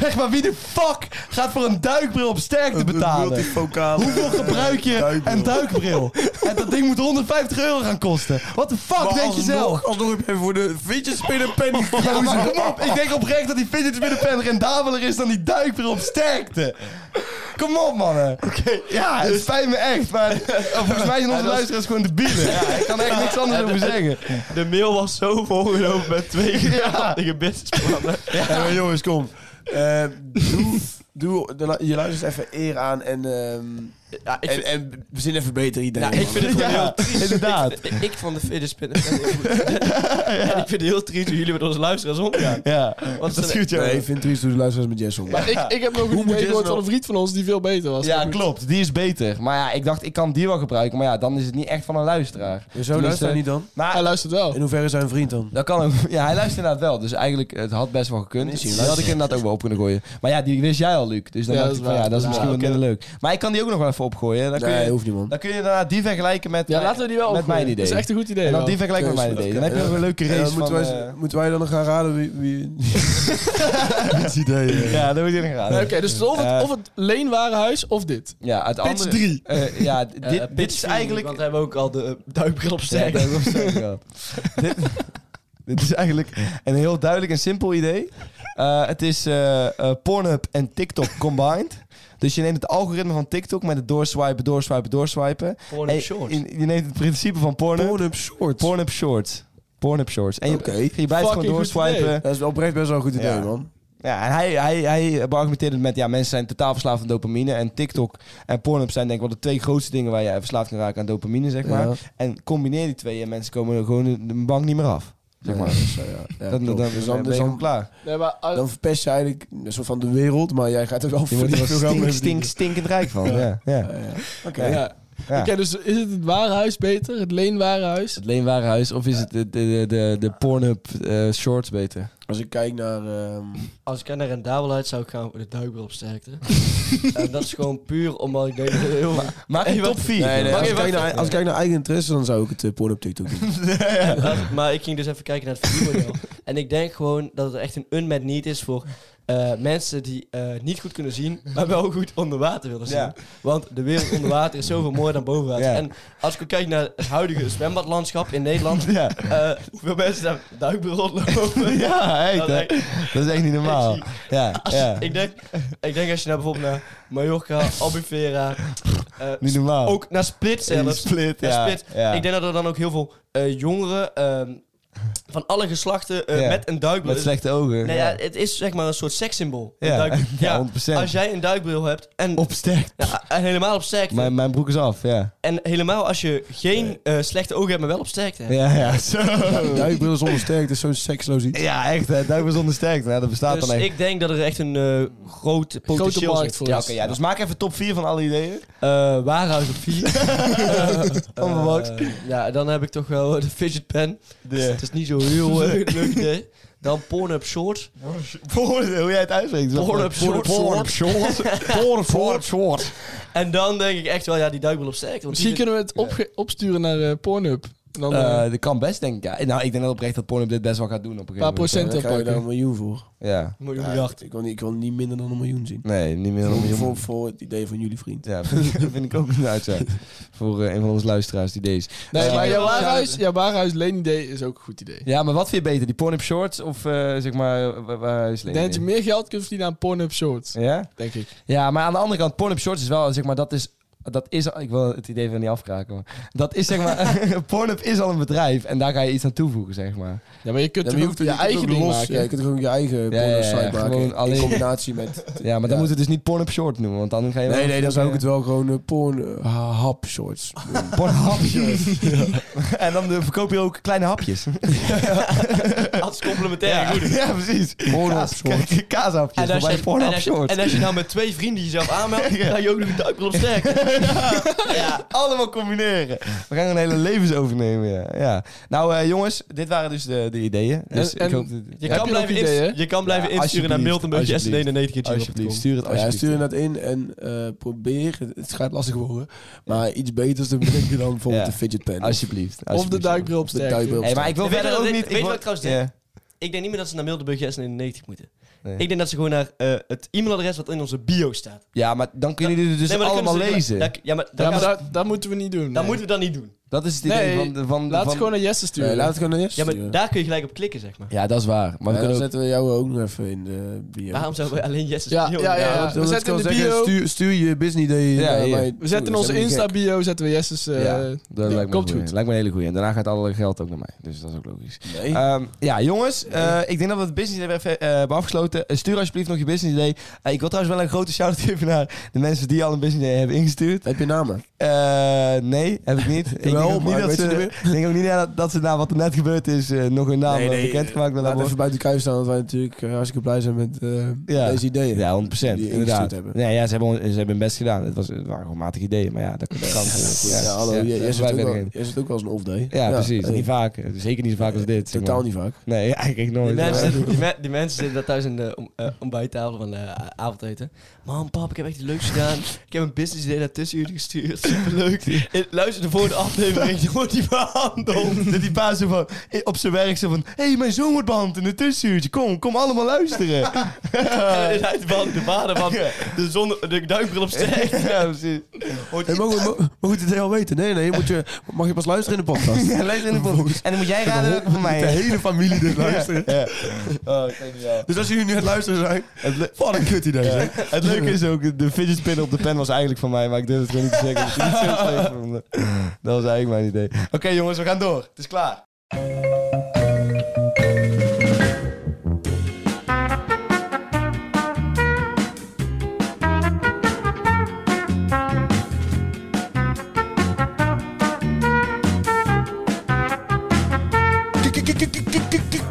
B: Zeg maar, wie de fuck gaat voor een duikbril op sterkte betalen?
E: Multifocale.
B: Hoeveel gebruik je
E: Duikbril.
B: een duikbril? En dat ding moet 150 euro gaan kosten. Wat de fuck denk je zelf?
E: Alsnog heb je voor de fidget spinner pen
B: Ja, maar kom op. Ik denk oprecht dat die fidget binnenpen rendabeler is dan die duikbril op sterkte. Kom op, mannen. Ja,
D: Dus-
B: het spijt me echt. Maar eh, volgens mij zijn onze luisteraars gewoon debielen. Ja, ik kan er echt niks anders over zeggen.
D: De mail was zo volgelopen met twee
B: Ja.
D: geweldige businessplannen.
E: jongens, kom. Eh, doe, doe, de lu- je luistert even eer aan en ehm,
D: Ja, ik
E: En,
D: vind,
E: en verzin even beter idee.
D: ja, ik vind het gewoon heel triest.
B: inderdaad.
D: Ik, ik van de fitness ben ben heel goed. En ik vind het heel triest hoe jullie met onze luisteraars omgaan.
B: Ja,
D: Want
B: dat
D: ze-
B: schiet jou.
E: Nee, ik vind het triest hoe de luisteraars met Jess omgaan.
C: Maar ik, ik heb nog een
E: moet
C: idee
E: Jesse
C: gehoord
E: wel-
C: van een vriend van ons die veel beter was.
B: Ja,
C: Maar goed.
B: klopt. Die is beter. Maar ja, ik dacht, ik kan die wel gebruiken. Maar ja, dan is het niet echt van een luisteraar.
E: Zo luistert
B: luisteraar
E: hij niet dan?
C: Hij
B: Maar
C: luistert wel.
E: In hoeverre is hij een vriend dan?
B: dat kan ook. Ja, hij luistert inderdaad wel. Dus eigenlijk, het had best wel gekund. Dus Die had ik inderdaad ook wel op kunnen gooien. Maar ja, die wist jij al, Luc. Dus dan dacht
C: Ja, dat
B: ik
C: is
B: van, ja,
C: waar.
B: dat is
C: Ja,
B: misschien wat minder leuk. Maar ik kan die ook nog wel even opgooien. Dan kun
E: Nee,
B: je,
E: hoeft niet man.
B: dan kun je inderdaad die vergelijken met,
C: Ja,
B: mijn-
C: laten we die wel
B: met
C: opgooien.
B: mijn idee.
C: Dat is echt een goed idee.
B: en dan
C: wel.
B: die vergelijken met
E: Oké,
B: mijn idee. Dan
E: oké.
B: heb je nog een leuke
E: Ja,
B: race
E: moeten,
B: van...
E: wij,
B: eh,
E: moeten wij dan nog gaan raden wie... wie... Dit idee. eh, hè.
B: eh, ja, dat moet je nog raden.
C: Nee, Oké, dus of het,
B: Eh.
C: of het leenwarenhuis of dit.
B: Ja, uit
C: Pitch
B: andere...
C: 3.
B: eh, ja, d- dit,
D: Eh,
B: dit
D: pitch
B: is
D: vier,
B: eigenlijk...
D: Want we hebben ook al de eh, duikbril op
B: Ja,
D: sterk.
B: dat heb ik op sterk gehad. dit, dit is eigenlijk een heel duidelijk en simpel idee. Eh, het is eh, eh, Pornhub en TikTok combined. Dus je neemt het algoritme van TikTok met het doorswipen, doorswipen, doorswipen.
D: Porn
B: En
D: op
B: je-
D: shorts.
B: Je, je neemt het principe van Pornhub. Pornhub,
E: Pornhub Shorts.
B: Shorts. Pornhub Shorts. En je,
E: Oké.
B: je blijft gewoon
C: Fucking goed
B: doorswipen.
E: Dat is oprecht best wel een goed idee,
B: Ja.
E: man.
B: Ja, en hij, hij, hij beargumenteerde het met... Ja, mensen zijn totaal verslaafd aan dopamine. En TikTok en Pornhub zijn denk ik wel de twee grootste dingen... waar je verslaafd kan raken aan dopamine, zeg maar.
E: Ja.
B: En combineer die twee en mensen komen er gewoon de- de bank niet meer af. Zeg maar.
E: Ja, dus, eh, ja. Ja,
B: dan, dan,
E: klopt.
B: dan,
E: Dus
B: ben je
E: dus
B: gewoon klaar.
C: Nee, maar, eh,
E: dan verpest je eigenlijk een soort van de wereld, maar jij gaat er wel
B: Je wordt er
E: flink
B: wel
E: veel geld
B: stink,
E: mee
B: stink, stinkend rijk van. Ja. Ja.
E: verdienen. Ja, ja.
C: ja.
B: ja. Ja.
C: Oké, dus is het het warenhuis beter? Het leenwarenhuis?
B: Het leenwarenhuis of is het de, de, de, de Pornhub eh, shorts beter?
E: Als ik kijk naar... ehm,
D: Als ik aan de rendabelheid zou ik gaan voor de duikbril op sterkte. en dat is gewoon puur omdat ik denk dat het heel...
B: Maak
D: Hey,
B: een top
D: wat-
B: 4.
E: nee, nee,
D: Mag
E: als,
D: ik
E: ik kijk
D: even-
E: naar, als ik kijk naar eigen interesse, dan zou ik het eh, porn op TikTok doen.
D: Ja, maar ik ging dus even kijken naar het verdienmodel. en ik denk gewoon dat het echt een unmet need is voor eh, mensen die eh, niet goed kunnen zien, maar wel goed onder water willen zien.
B: Ja.
D: Want de wereld onder water is zoveel mooier dan boven water.
B: Ja.
D: En als ik ook kijk naar het huidige zwembadlandschap in Nederland,
B: Ja,
D: eh, hoeveel mensen daar duikbril rondlopen.
B: ja echt,
D: Dat
B: hè.
D: is echt-
B: dat is echt niet normaal.
D: echt
B: Ja, ja.
D: ik, denk, ik denk als je nou bijvoorbeeld naar Mallorca, Albufeira, eh,
B: Niet normaal.
D: ook naar Split zelfs.
B: split,
D: Ja,
B: ja.
D: split.
B: ja.
D: Ik denk dat er dan ook heel veel eh, jongeren ehm, van alle geslachten eh,
B: Ja.
D: met een duikbril.
B: Met slechte ogen.
D: Nee, Nou ja, het is zeg maar een soort sekssymbool. een
B: Ja.
D: duikbril.
B: Ja,
D: Ja,
B: 100%.
D: Als jij een duikbril hebt en,
B: Op sterk.
D: ja, en helemaal op sterkte.
B: Mijn, mijn broek is af, ja.
D: En helemaal als je geen eh, slechte ogen hebt, maar wel op sterkte. hebt.
B: Ja, ja. Zo.
E: Duikbril is onsterk, dat is zo'n seksloos iets.
B: Ja, echt, hè. Duivel zonder sterkte. Nou, dat bestaat
D: Dus
B: dan echt.
D: ik denk dat er echt een eh groot
C: Grote
D: potentieel
C: markt
D: is.
C: voor
B: Ja,
C: ons.
B: oké, ja, dus maak even top 4 van alle ideeën.
D: Eh warenhuis op 4.
B: Onverwacht.
D: Eh, ja, dan heb ik toch wel eh, de fidget pen. Dus Het is niet zo heel eh, leuk idee. Dan Pornhub Shorts.
B: Porn, hoe jij het uitspreekt.
D: Pornhub short.
B: Pornhub short. Pornhub short. short.
D: En dan denk ik echt wel, ja, die duikbril op sterkte. Want
C: Misschien
D: die-
C: kunnen we het opge- opsturen naar eh, Pornhub. En Dan eh,
B: Eh, dat kan best, denk ik. Ja. Nou, ik denk dat oprecht dat Pornhub dit best wel gaat doen op een
C: een paar
B: gegeven moment.
E: Dan
C: procent
E: krijg je daar een
C: oppakken.
E: miljoen voor.
B: Ja.
D: Miljoen
E: Ja,
D: miljard.
E: ik, wil niet, ik wil niet minder dan een miljoen zien.
B: Nee, niet meer dan een
E: Voor,
B: miljoen.
E: voor, voor het idee van jullie vriend.
B: Ja, vind vind ik ook een uitzending. Voor eh, een van onze luisteraars die deze.
C: Nee,
B: Eh,
C: maar jouw warenhuis, jouw warenhuis leenidee is ook een goed idee.
B: Ja, maar wat vind je beter? Die Pornhub shorts of eh, zeg maar... eh, waar- Waar is
C: Ik denk dat je
B: Lenin?
C: meer geld kunt verdienen aan Pornhub Shorts,
B: Ja?
C: denk ik.
B: Ja, maar aan de andere kant, Pornhub shorts is wel, zeg maar, dat is... Dat is, ik wil het idee van niet afkraken, maar dat is zeg maar, Pornhub is al een bedrijf en daar ga je iets aan toevoegen, zeg maar.
C: Ja, maar je kunt
E: Ja,
C: er
E: maar je
C: ook
E: hoeft-
C: je
E: je kunt
C: eigen
E: ook
C: ding
E: los-
C: maken.
E: Ja, je kunt ook je eigen
B: Ja, ja,
E: porno
B: ja,
E: site maken.
B: gewoon alleen-
E: In combinatie met...
B: Ja, maar dan
E: Ja.
B: moet het dus niet Pornhub short noemen, want dan ga je... wel-
E: Nee, nee, dan zou ik het wel gewoon eh, porn eh, hap
B: Ah,
E: shorts.
B: Pornhub shorts. En dan eh, verkoop je ook kleine hapjes.
D: Als complementair.
B: Ja,
D: goed.
B: ja, precies.
E: Pornhub
B: Kaas,
E: shorts.
B: k- kaashapjes.
D: En als,
B: bij de
D: je, en,
B: Pornhub
D: als je,
B: shorts.
D: en als je nou met twee vrienden jezelf aanmeldt, dan ga je ook nog een duikbril op sterkte. ja.
B: Allemaal combineren. We gaan een hele levens overnemen, ja. ja. Nou eh, jongens, dit waren dus de, de ideeën. Dus
C: En- en-
B: ik hoop dat...
D: Je,
C: Heb
D: kan
C: je
D: blijven
C: nog ideeën?
D: inst- je kan blijven
B: Ja,
D: insturen naar
B: alsjeblieft, Alsjeblieft,
D: mailton.js99.gmail.com
B: stuur het
E: Ja,
B: alsjeblieft.
E: stuur dat in en eh, probeer, het gaat lastig worden, maar iets beters te bedenken dan bijvoorbeeld
B: Ja.
E: de fidget pen.
B: Alsjeblieft.
C: Of de
B: alsjeblieft.
C: duikbril op
E: de duikbril.
C: sterkte.
B: Hey, maar ik wil
D: Weet je
B: verder
D: wat
B: ook
D: dit-
B: niet...
D: weet je
B: ik wil-
D: wat ik trouwens
B: Ja.
D: Ik denk niet meer dat ze naar mailton.js99 E moeten.
B: Nee.
D: Ik denk dat ze gewoon naar eh, het e-mailadres wat in onze bio staat.
B: Ja, maar dan kunnen jullie het dus
D: Nee, maar dan
B: allemaal
D: kunnen ze-
B: lezen.
D: dan- ja, maar dan
C: Ja,
D: gaan
C: maar
D: ze-
C: dat, dat moeten we niet doen.
D: dat
C: nee.
D: moeten we dan niet doen.
B: Dat is het idee
C: Nee,
B: van... de- van,
C: Laat
B: van-
C: het gewoon naar Jesse sturen.
E: Nee, laat het gewoon naar Jesse
D: Ja, maar
E: sturen.
D: daar kun je gelijk op klikken, zeg maar.
B: Ja, dat is waar. Maar
E: Maar
B: we
E: dan
B: kunnen ook...
E: zetten we jou ook nog even in de bio.
D: Waarom zouden we alleen Jesse
C: Ja,
D: sturen?
C: ja, ja.
E: want
C: we
E: dat
C: zetten
E: kan
C: in de bio.
E: Stuur, stuur je business idee
B: Ja,
E: naar
B: hier.
E: mij
C: we
E: toe.
C: zetten in
E: Dat
C: onze
E: is helemaal niet
C: Insta-bio zetten we Jesse's... eh,
B: Ja, dat lijkt me een
C: komt
B: goeie.
C: goed.
B: Lijkt me een hele goede. En daarna gaat alle geld ook naar mij. Dus dat is ook logisch.
E: gek. Nee.
B: Ehm, ja, jongens, eh, ik denk dat we het business idee even eh, hebben afgesloten. Eh, stuur alsjeblieft nog je business idee. Eh, ik wil trouwens wel een grote shout-out geven naar de mensen die al een business idee hebben ingestuurd.
E: Heb je namen?
B: Eh, nee, heb ik niet. ik denk
E: Jawel,
B: ook niet
E: maar
B: dat
E: weet je
B: ze, ik denk ook niet dat, dat ze na wat er net gebeurd is eh, nog hun naam
E: Nee,
B: eh,
E: nee,
B: bekendgemaakt willen
E: Laat
B: worden.
E: even buiten kuif staan, want wij natuurlijk eh, hartstikke blij zijn met eh,
B: Ja.
E: deze ideeën.
B: Ja, 100 procent.
E: Die
B: Inderdaad.
E: ingestuurd hebben.
B: Nee, ja, ze, hebben, ze hebben hun best gedaan. Het, was, het waren gewoon matige ideeën, maar ja, dat kan.
E: Ja, hallo,
B: ja,
E: jij-
B: daar
E: jij zit
B: blijft
E: ook wel-
B: erin.
E: jij zit ook wel eens een off-day.
B: Ja, precies.
E: eh,
B: Niet vaak. Zeker niet zo vaak als dit. zeg
E: Totaal
B: maar.
E: niet vaak.
B: Nee, eigenlijk nooit.
D: Die mensen, die, me- die mensen zitten daar thuis aan de om, eh, ontbijttafel van de a- avondeten. Man, pap, ik heb echt iets leuks gedaan. Ik heb een business idee naar tussenuren gestuurd. Superleuk. Eh, Luister de volgende aflevering, dan wordt die behandeld.
B: Dat die pa zo van, eh, op zijn werk zo van... Hé, hey, mijn zoon wordt behandeld in het tussenuurtje. Kom, kom allemaal luisteren.
D: En is uit de band, de vader van de, zon, de duikbril op steek.
B: ja, precies.
E: Hey, mogen, we- mo- mogen we dit al weten? Nee, nee, moet je, mag je pas luisteren in de podcast?
B: Ja, luister in de podcast. En dan moet jij raden welke van mij
E: De
B: is.
E: hele familie dit luisteren.
B: Ja. Oh, geniaal.
E: Dus als jullie nu aan het luisteren zijn,
B: Het, le-
E: wat een kut idee. zeg.
B: het leuke is ook, de fidget spinner op de pen was eigenlijk van mij, maar ik durf het gewoon niet te zeggen. omdat ik het niet zo slecht vond. Dat was eigenlijk mijn idee. Oké jongens, we gaan door. Het is klaar.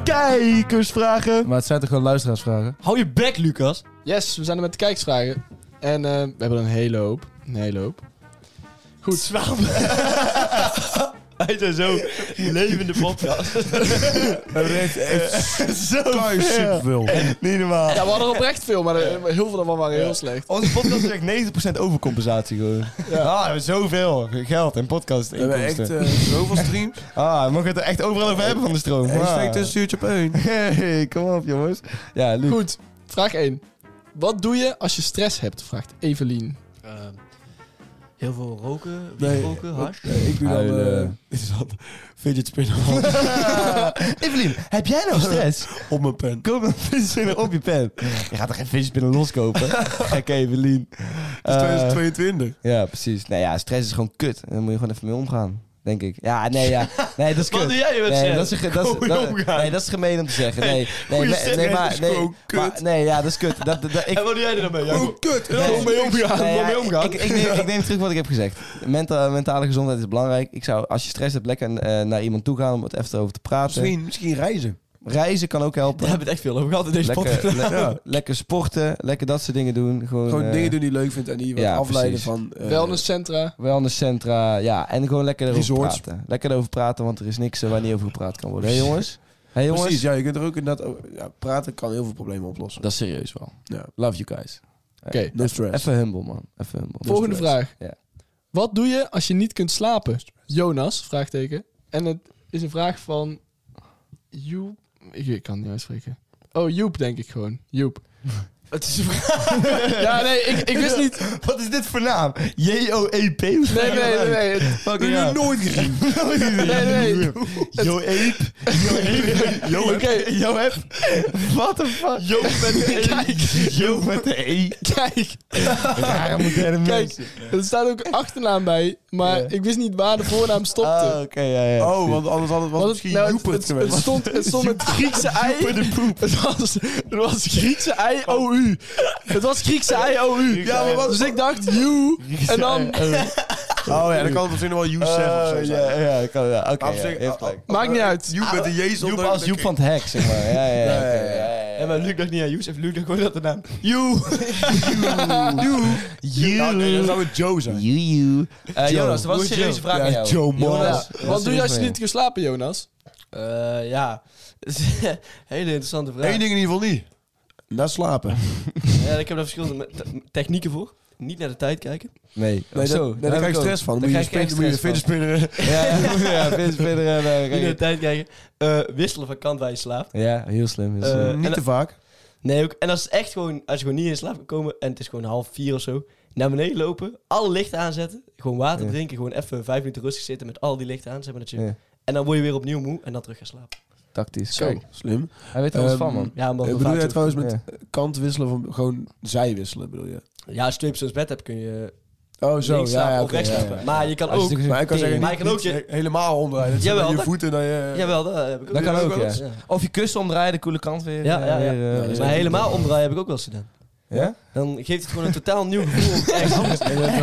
B: Kijkersvragen.
E: Maar het zijn toch gewoon luisteraarsvragen?
D: Hou je bek, Lucas.
C: Yes, we zijn er met de kijksvragen. En eh, we hebben er een hele hoop. Een hele hoop. Goed.
D: Wij zijn zo levende podcast.
B: Zo
E: superveel.
B: Niet normaal.
C: Ja, we hadden oprecht veel, maar eh, heel veel daarvan waren heel slecht.
B: Onze podcast is echt 90% overcompensatie gewoon. Ja. Ah, we hebben zoveel geld en podcast
E: We hebben echt
B: inkomsten.
E: eh, dus- zoveel streams.
B: Ah, we mogen het er echt overal over hebben van de stroom.
E: Hashtag
B: Ah.
E: tussen op één.
B: Hey, kom op jongens. Ja, Luc.
C: Goed, vraag 1. Wat doe je als je stress hebt? Vraagt Evelien.
D: Ehm, heel veel roken, wiet
E: Nee.
D: roken, hash.
E: Eh, ik doe dan...
B: Huilen.
E: eh, Dit is wat fidget spinner
B: Evelien, heb jij nou stress?
E: op mijn pen.
B: Koop een visspinner op je pen. Je gaat er geen visspinner loskopen. Gekke Evelien.
E: Het is
B: Eh,
E: 2022.
B: ja, precies. Nou ja, stress is gewoon kut. En daar moet je gewoon even mee omgaan. Denk ik. Ja, nee, ja. Nee, dat is kut.
D: Wat doe jij met
B: Nee,
D: nee,
B: dat is, ge- dat, is,
D: Gewoon
B: dat-
D: omgaan.
B: nee, dat is gemeen om te zeggen. Nee, nee,
D: goeie
B: nee,
D: zin,
B: nee,
D: hè?
B: maar,
D: Dat is
B: nee,
D: gewoon
B: maar- nee, ja, dat is kut. Dat, dat, ik,
D: En wat doe jij er dan mee? Jacob?
E: Oh, kut.
B: Nee.
E: Kom mee omgaan.
B: Nee,
E: Kom
B: ja,
E: mee omgaan.
B: Ik, ik, neem, ik neem terug wat ik heb gezegd. Menta- mentale gezondheid is belangrijk. Ik zou, als je stress hebt, lekker eh, naar iemand toe gaan om het even over te praten.
E: Misschien, misschien reizen.
B: Reizen kan ook helpen.
D: Daar hebben we het echt veel over gehad in deze podcast.
B: lekker, le- lekker sporten, lekker dat soort dingen doen. Gewoon,
E: Gewoon
B: eh,
E: dingen doen die je leuk vindt en die je wat
B: ja,
E: afleiden
B: precies.
E: van... eh,
C: Wellnesscentra.
B: Wellnesscentra, ja. En gewoon lekker erover
E: Resorts.
B: praten. Lekker erover praten, want er is niks eh, waar niet over gepraat kan worden. Hé jongens? Hé jongens?
E: Precies, ja, je kunt er ook inderdaad... over- Ja, praten kan heel veel problemen oplossen.
B: Dat is serieus wel.
E: Ja.
B: Love you guys.
C: Oké,
E: No stress.
B: Even humble man. Even humble.
D: Dus
C: volgende vraag.
B: Ja.
C: Wat doe je als je niet kunt slapen? Jonas, vraagteken. En het is een vraag van... Joep... Ik, ik kan het niet uitspreken. Oh, Joep denk ik gewoon. Joep.
D: Het is een vraag.
C: Ja, nee, ik, ik wist niet...
B: Wat is dit voor naam? J-O-E-P? Nee,
C: Nee, nee, nee. nee. Het-
B: Fucking hell.
E: nooit gezien.
C: Nee, nee.
B: Yo ape. Yo ape. Yo ape.
C: Oké.
B: Yo ape. What the fuck? Yo met de E. Yo met de E.
C: Kijk,
B: Rare moderne
C: kijk.
B: mensen.
C: Er staat ook een achternaam bij, maar
B: Ja.
C: ik wist niet waar de voornaam stopte.
B: Ah, oké, ja, ja.
E: Oh, want anders had het was
C: Want
E: misschien
C: nou,
E: Joepert
C: het, het,
E: geweest.
C: stond, het stond met Oh, Griekse ei. Het was, het was Griekse ei OU. Het was Griekse ei OU.
E: Ja, maar wat-
C: Dus ik dacht, you. En dan
E: Oh ja, dan kan het misschien nog wel Joep zeggen of zo.
B: Oh, ja,
E: zijn.
B: ja, ik kan, ja, oké,
E: Maar op
B: ja,
E: zich-
B: heeft gelijk.
C: maakt niet uit.
E: Joep met de Jezus.
B: Joep als Joep van het Hek, zeg maar. Ja, ja, ja. oké, ja, ja, ja.
D: En maar Luc dacht niet aan Joes, heeft Luc dacht gewoon dat de naam.
E: Joe. Joe.
B: Joe.
E: Nou, nee, dan zou het Joe zijn.
B: Joe, Joe. Eh,
D: Joe.
B: Jonas, er was een
D: Joe.
B: serieuze vraag
E: Ja,
B: aan jou.
E: Joe Moss.
B: Jonas, er was
C: Wat doe je
B: serieus
C: als je
B: mee.
C: niet kunt slapen, Jonas?
D: Eh ja, hele interessante vraag.
E: Eén ding in ieder geval niet. Naar slapen.
D: Ja, ik heb daar verschillende me- te- technieken voor. Niet naar de tijd kijken.
B: Nee,
E: Nee,
B: zo.
E: dat, nee, daar krijg je stress van. Dan moet
B: Daar
E: je
B: krijg
E: spin-
B: je
E: moet je
B: echt stress
E: fidgetspinneren.
B: Ja, ja, vind je verder, eh, daar
D: Niet
B: krijg
D: naar de
B: je-
D: tijd kijken. Eh, wisselen van kant waar je slaapt.
B: Ja, heel slim. heel
D: Eh,
B: slim.
D: en
E: Niet te
D: dat-
E: vaak.
D: Nee, ook. En als het echt gewoon, als je gewoon niet in slaap kan komen en het is gewoon half vier of zo. naar beneden lopen, alle lichten aanzetten, gewoon water
B: Ja.
D: drinken, gewoon even vijf minuten rustig zitten met al die lichten aan, zeg maar dat je...
B: Ja.
D: En dan word je weer opnieuw moe en dan terug gaan slapen.
B: Tactisch.
E: Zo,
B: Kijk,
E: slim.
B: hij weet er alles
E: Ehm,
B: van, man.
D: Ja, omdat
E: Eh,
D: we
E: bedoel
D: vaak
E: je
D: zo-
E: trouwens met
B: Ja.
E: kant wisselen of gewoon zij wisselen, bedoel je?
D: Ja, als je twee personen bed hebt, kun je
E: Oh, zo.
D: links
E: Ja,
D: slapen
E: ja,
D: of
E: oké,
D: rechts
E: ja, ja.
D: slapen. Maar je kan
B: Als je
D: ook...
B: natuurlijk-
E: Maar ik kan zeggen,
D: Maar
E: niet,
D: je kan ook
E: niet
D: je-
E: he- helemaal omdraaien. Dat
D: Jawel,
E: je met
D: dat-
E: je voeten dan je...
D: Jawel, dat heb ik ook.
B: Dat kan
D: wel
B: ook,
D: eens.
B: ja. Of je kussen omdraaien, de koele kant weer.
D: Ja,
B: eh,
D: ja, ja.
B: weer, eh,
E: Ja, dat is
D: Maar
B: eh,
D: helemaal omdraaien heb ik ook wel eens gedaan.
B: Ja?
D: Dan geeft het gewoon een totaal nieuw gevoel. Echt anders.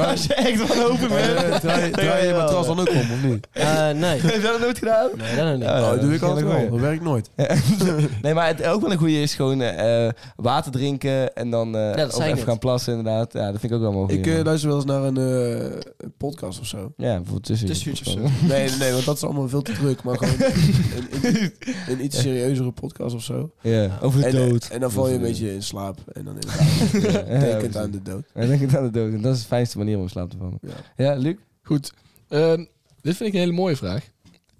D: Als je echt van open bent.
E: Eh, Draai draai je
D: Jawel.
E: matras dan ook om, of niet?
D: Eh, nee.
B: Heb je dat nooit gedaan?
D: Nee, dat nou niet.
B: ja,
E: Oh, dat doe
B: dat
E: ik
B: is
E: altijd
B: wel een
E: wel.
B: goeie.
E: Dat werkt nooit.
B: Nee, maar het, ook wel een goede is gewoon eh, eh, water drinken en dan eh
D: dat
B: of
D: zei ik
B: even
D: net.
B: gaan plassen inderdaad. Ja, dat vind ik ook wel mogelijk.
E: Ik eh, luister wel eens naar een eh, een podcast of zo.
B: ja, bijvoorbeeld tussen
D: Tussenuurtje of zo.
E: Nee, nee, nee, want dat is allemaal veel te druk. Maar gewoon een, een, een iets serieuzere podcast of zo.
B: Ja, over de
E: en, eh,
B: dood.
E: En dan val je een
B: Over de-
E: beetje in slaap. En dan inderdaad
B: Ja,
E: tekent
B: ja,
E: aan de dood.
B: En denk het aan de dood. En dat is de fijnste manier om in slaap te vallen.
E: Ja.
B: Ja, Luc?
C: Goed. Ehm, dit vind ik een hele mooie vraag.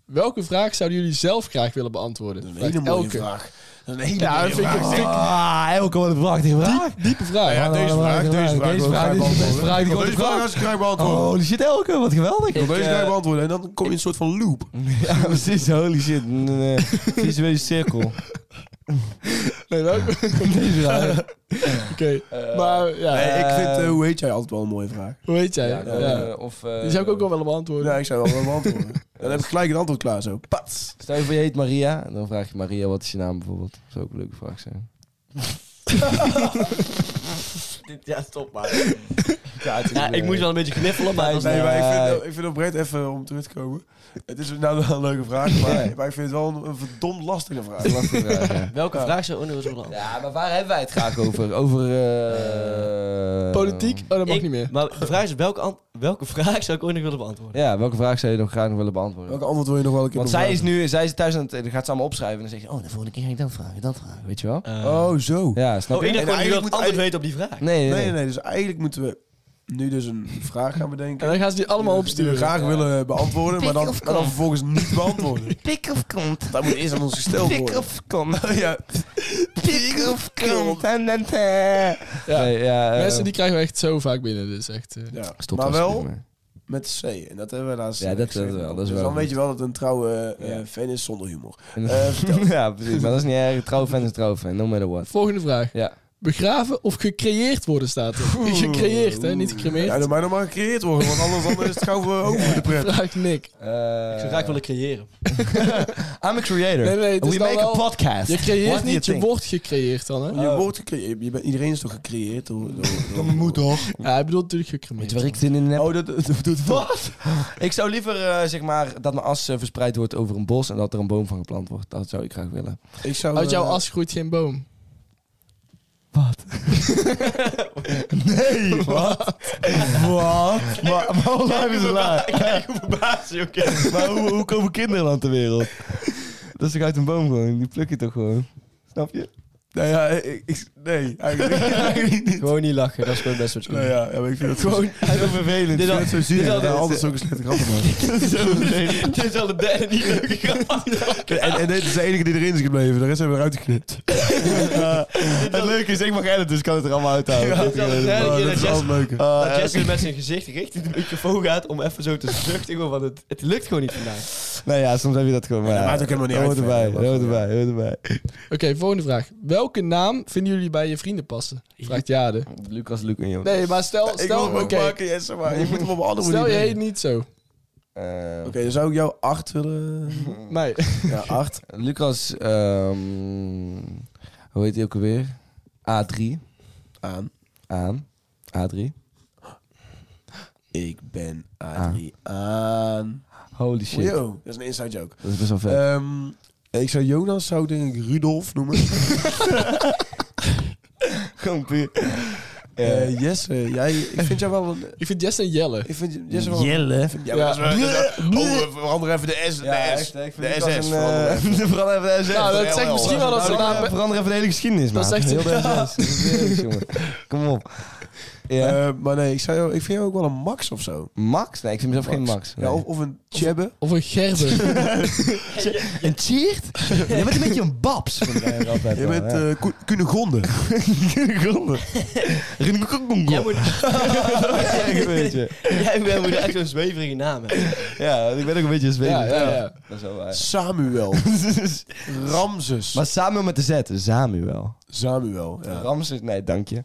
C: Welke vraag zouden jullie zelf graag willen beantwoorden?
E: Dat is een
C: Vraagt
E: hele mooie
C: elke.
E: vraag. Dat is een hele
C: Ja,
E: mooie
C: dat vind ik
E: vraag.
C: een stuk
B: Ah, Elke, wat een prachtige vraag.
C: diepe vraag.
E: Ja, deze vraag, deze vraag wil ik graag
B: deze
E: beantwoorden.
B: deze vraag, die
E: Want
B: wordt
E: Deze vraag
B: gevraagd.
E: als ik graag beantwoorden.
B: Oh, Holy shit, Elke, wat geweldig.
E: Want deze
D: eh,
E: ga je beantwoorden. En dan kom je in een soort van loop.
B: Ja, precies, holy shit. Een eh, visuele cirkel.
C: Nee, welke?
B: Deze vraag.
C: Oké. maar ja,
E: Nee, ik vind, eh,
B: eh,
E: hoe heet jij, altijd wel een mooie vraag.
C: hoe heet jij? Ja,
B: Ja, eh, Of, eh,
C: Die zou ik ook wel willen beantwoorden.
E: Ja, ik zou wel wel beantwoorden. Dan heb ik gelijk het antwoord klaar zo. Pats.
B: Stel je voor je heet Maria, en dan vraag je Maria wat is je naam bijvoorbeeld. Dat zou ook een leuke vraag zijn.
D: Ja, stop maar. Ja, ik
B: eh,
D: moest wel een beetje kniffelen, maar... dat was-
E: Nee, maar ik vind, ik vind oprecht even om terug te komen. Het is nou wel een leuke vraag, maar, maar ik vind het wel een, een verdomd lastige vraag.
B: Lastige vraag, ja.
D: Welke vraag zou Onno willen beantwoorden?
B: Ja, maar waar hebben wij het graag over? Over... eh,
C: Politiek? Oh, dat mag
D: Ik-
C: niet meer.
D: Maar de vraag is, welke, ant- welke vraag zou ik ooit nog willen beantwoorden?
B: Ja, welke vraag zou je nog graag nog willen beantwoorden?
E: Welke antwoord wil je nog wel een keer
B: Want zij is
E: bevragen?
B: nu zij is thuis aan het... Dan gaat ze allemaal opschrijven en dan zeg je... Oh, de volgende keer ga ik dat vragen, dat vragen. Weet je wel?
D: Eh,
E: Oh, zo.
B: Ja, snap
D: oh,
B: je?
D: ik dacht gewoon, je
E: En eigenlijk
D: wil het
E: moet
D: antwoord
E: eigenlijk-
D: weten op die vraag.
B: Nee, nee,
E: Nee, nee, dus eigenlijk moeten we nu dus een vraag gaan bedenken.
C: En dan gaan ze die allemaal
E: die we- die
C: opsturen.
E: we graag willen beantwoorden, maar dan, maar dan vervolgens niet beantwoorden.
B: Pik of kont.
E: Dat moet eerst aan ons gesteld
B: Pik
E: worden.
B: of kont.
E: Ja,
B: Pik of kont. En dan... Nee, ja, eh,
C: Mensen die krijgen we echt zo vaak binnen. Dus echt... eh,
E: ja.
B: Stop
E: maar
B: alsjeblieft
E: wel
B: maar.
E: met C. En dat hebben we laatst
B: Ja, dat-
E: gezegd.
B: dat wel, dat is
E: dus
B: wel
E: dan
B: goed.
E: weet je wel dat het een trouwe eh,
B: Ja.
E: fan is zonder humor.
B: Eh,
E: vertel.
B: ja, precies. Maar dat is niet erg. Trouwfan is trouwfan. No matter what.
C: Volgende vraag.
B: Ja.
C: Begraven of gecreëerd worden staat er. Gecreëerd, hè? Niet
E: Mm. Ja,
C: gecremeerd.
E: door mij nog maar gecreëerd worden, want anders dan is het gauw eh, over voor de pret.
C: Vraag Nick.
D: Ik zou graag willen creëren.
B: eh, I'm a creator.
C: Nee, nee, het
B: And
C: is
B: We
C: dan
B: make a
C: wel-
B: podcast.
C: Je
B: What
C: creëert
B: do
C: niet, je
B: think?
C: wordt gecreëerd dan, hè?
E: Je wordt gecreëerd. Je bent, iedereen is toch gecreëerd? Door, door, door,
C: toch? Ja, hij bedoelt natuurlijk
B: Weet
C: gecremeerd.
B: je waar ik zin in heb?
E: Oh, dat, dat dat doet wel.
B: Wat? Ik zou liever, eh, zeg maar, dat mijn as eh, verspreid wordt over een bos en dat er een boom van geplant wordt. Dat zou ik graag willen.
E: Ik zou,
C: Uit jouw
E: eh,
C: as groeit geen boom.
B: Nee, wat? wat? Maar, maar
D: Oh,
B: hoe lang is het laag?
D: Kijk hoe verbaasd je ook is.
B: Maar hoe, hoe komen kinderen aan de wereld? Dat is toch uit een boom gewoon? Die pluk je toch gewoon? Snap je?
E: Nou ja, ik, ik- nee, eigenlijk, eigenlijk niet.
D: Gewoon niet lachen, dat is gewoon best wat je
E: Nou ja, ja, maar ik vind het gewoon
D: Gewoon,
B: Heel vervelend.
D: dit
E: ik
D: al-
E: vind het zo zielig.
D: dit al-
E: dat hij altijd zo'n slechte grappen maken.
D: dit is al de derde niet leuke grap.
E: En, en dit is de enige die erin is gebleven. De rest hebben we eruit geknipt.
B: Het leuke is, ik mag editen, dus ik eh, kan het er allemaal uithouden.
D: Ja, dit is al de derde
E: Oh,
D: keer dat
E: dat is wel
D: Jess-
E: het leuke.
B: Ah,
D: dat
B: ja,
D: Jesse met zijn gezicht richting de microfoon gaat om even zo te zuchten. gewoon, Want het, het lukt gewoon niet vandaag.
B: Nou ja, soms heb je dat gewoon. Maar
E: Ja,
B: ja,
E: dat maakt ook helemaal niet
B: dat
E: uit
B: hoort erbij,
E: verder.
B: dat hoort erbij, dat hoort erbij.
C: Oké, volgende vraag. Welke naam vinden jullie bij je vrienden passen? Vraagt Jade.
B: Lucas, Luc en Jonas.
C: Nee, maar stel,
E: Ik wil
C: stel,
E: hem
C: oké,
E: ook maken, Jesse, maar je moet hem op een andere manier
C: stel je
E: brengen.
C: heet niet zo.
B: Eh,
E: Oké, dan zou ik jou acht willen...
C: Nee.
E: Ja, acht.
B: Lucas, ehm, hoe heet hij ook alweer? A3.
E: Aan.
B: Aan. A3.
E: Ik ben Adriaan.
B: Holy shit.
E: Yo, dat is een inside joke.
B: Dat is best wel vet.
E: Ehm, ik zou Jonas, zou denk ik Rudolf noemen.
B: Gewoon puur.
E: Eh Jesse, jij, ik vind jou wel een...
C: Ik vind Jess en Jelle.
E: Ik vind Jesse wel...
B: Jelle.
E: Ja, maar dat is wel- dat is wel-
B: Bleh.
E: Oh, we veranderen even de S. De
B: Ja,
E: S.
B: echt, ik vind
E: de
B: Lucas
E: SS.
B: een,
E: veranderen we
B: eh,
E: even.
B: Verander even de SS.
C: Nou, dat zegt
E: wel,
C: misschien wel dat ze
B: Nou,
C: naam...
B: Verander even de hele geschiedenis,
C: Dat
B: maat.
C: zegt-
B: Heel de SS. Dat is serieus, jongen. Kom op. Ja.
E: Eh, maar nee, ik, zou jou, ik vind jou ook wel een Max of zo.
B: Max? Nee, ik vind mezelf geen Max.
E: Ja,
B: Nee.
E: of, of een Chebbe.
C: Of een gerber.
B: Een cheert? Je bent een beetje een babs. vind ik eigenlijk altijd
E: Je
B: wel,
E: bent
B: ja.
E: eh Koen- Cunegonde.
B: eh,
D: Jij moet...
B: Ja, ik weet je.
D: Jij bent- moet echt zo'n zweverige naam hebben.
B: Ja, ik ben ook een beetje een zweem.
C: ja, ja, ja.
B: Dat is wel waar.
E: Samuel. Ramses.
B: Maar Samuel met de Z. Samuel.
E: Samuel. Ja.
B: Ramses? Nee, dank je.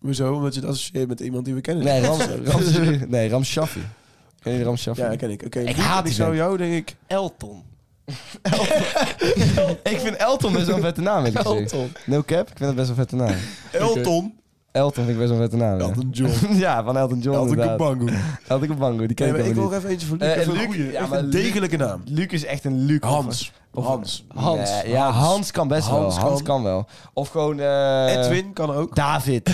E: Hoezo? Omdat je het associeert met iemand die we kennen.
B: Nee, Rams, Rams, nee, Ram Shaffi. Ken je Ram Shaffi?
E: Ja, dat ken ik. Oké,
B: Ik
E: die-
B: haat
E: Ik
B: die
E: zou
B: vent.
E: jou, denk ik...
D: Elton.
B: ik vind Elton best wel een vette naam, weet ik gezegd.
C: Elton.
B: No cap, ik vind het best wel een vette naam.
E: Elton.
B: Elton vind ik best wel een vette naam. ja.
E: Elton John.
B: Ja, van Elton John
E: Elton
B: inderdaad.
E: Kabango.
B: Elton Kabango, die ken ik
E: Nee, maar
B: helemaal
E: ik wil nog even eentje voor
B: Eh,
E: Luc. even
B: Luc-
E: een goeie.
B: ja,
E: Echt
B: maar
E: een
B: Luc-
E: degelijke naam.
B: niet. Luc is echt een Luc. of-
E: Hans.
B: of-
E: Hans.
C: Hans.
B: Nee, ja, Hans kan best
E: Hans
B: wel. Hans
E: kan.
B: kan wel. Of gewoon... eh,
E: Edwin kan ook.
B: David.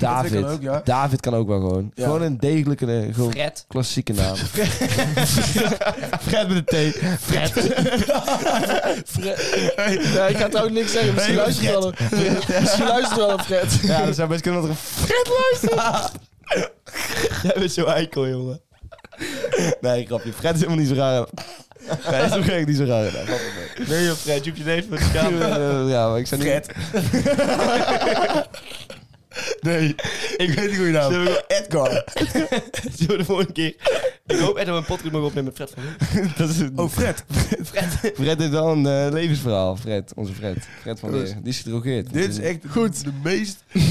B: David.
E: Edwin kan ook, ja.
B: David kan ook wel gewoon.
E: Ja.
B: Gewoon een degelijke, eh, gewoon
D: Fred.
B: klassieke naam. Fred met een T. Fred.
C: Ja, ik ga trouwens niks zeggen. Misschien
B: Nee,
C: luistert wel een- misschien luistert wel een Fred.
B: Ja, dat zou best kunnen dat er een Fred luistert. Jij bent zo eikel, jongen. Nee, grapje. Fred is helemaal niet zo raar. Hij is toch echt niet zo raar. Nee, grapje,
D: Nee, joh, Fred. Je hebt je neus voor de camera.
B: eh, Ja, maar ik zou niet... Fred.
E: Nee, ik weet niet hoe je naam.
D: Zullen we-
E: Edgar.
D: Zullen we de volgende keer... Ik hoop echt dat we een podcast mogen opnemen met Fred van Leeuwen.
B: Dat is
E: Oh, Fred.
D: Fred.
B: Fred heeft wel een eh, levensverhaal. Fred, onze Fred. Fred van Leer. Die is gedrogeerd.
E: Dit is echt Goed. de meest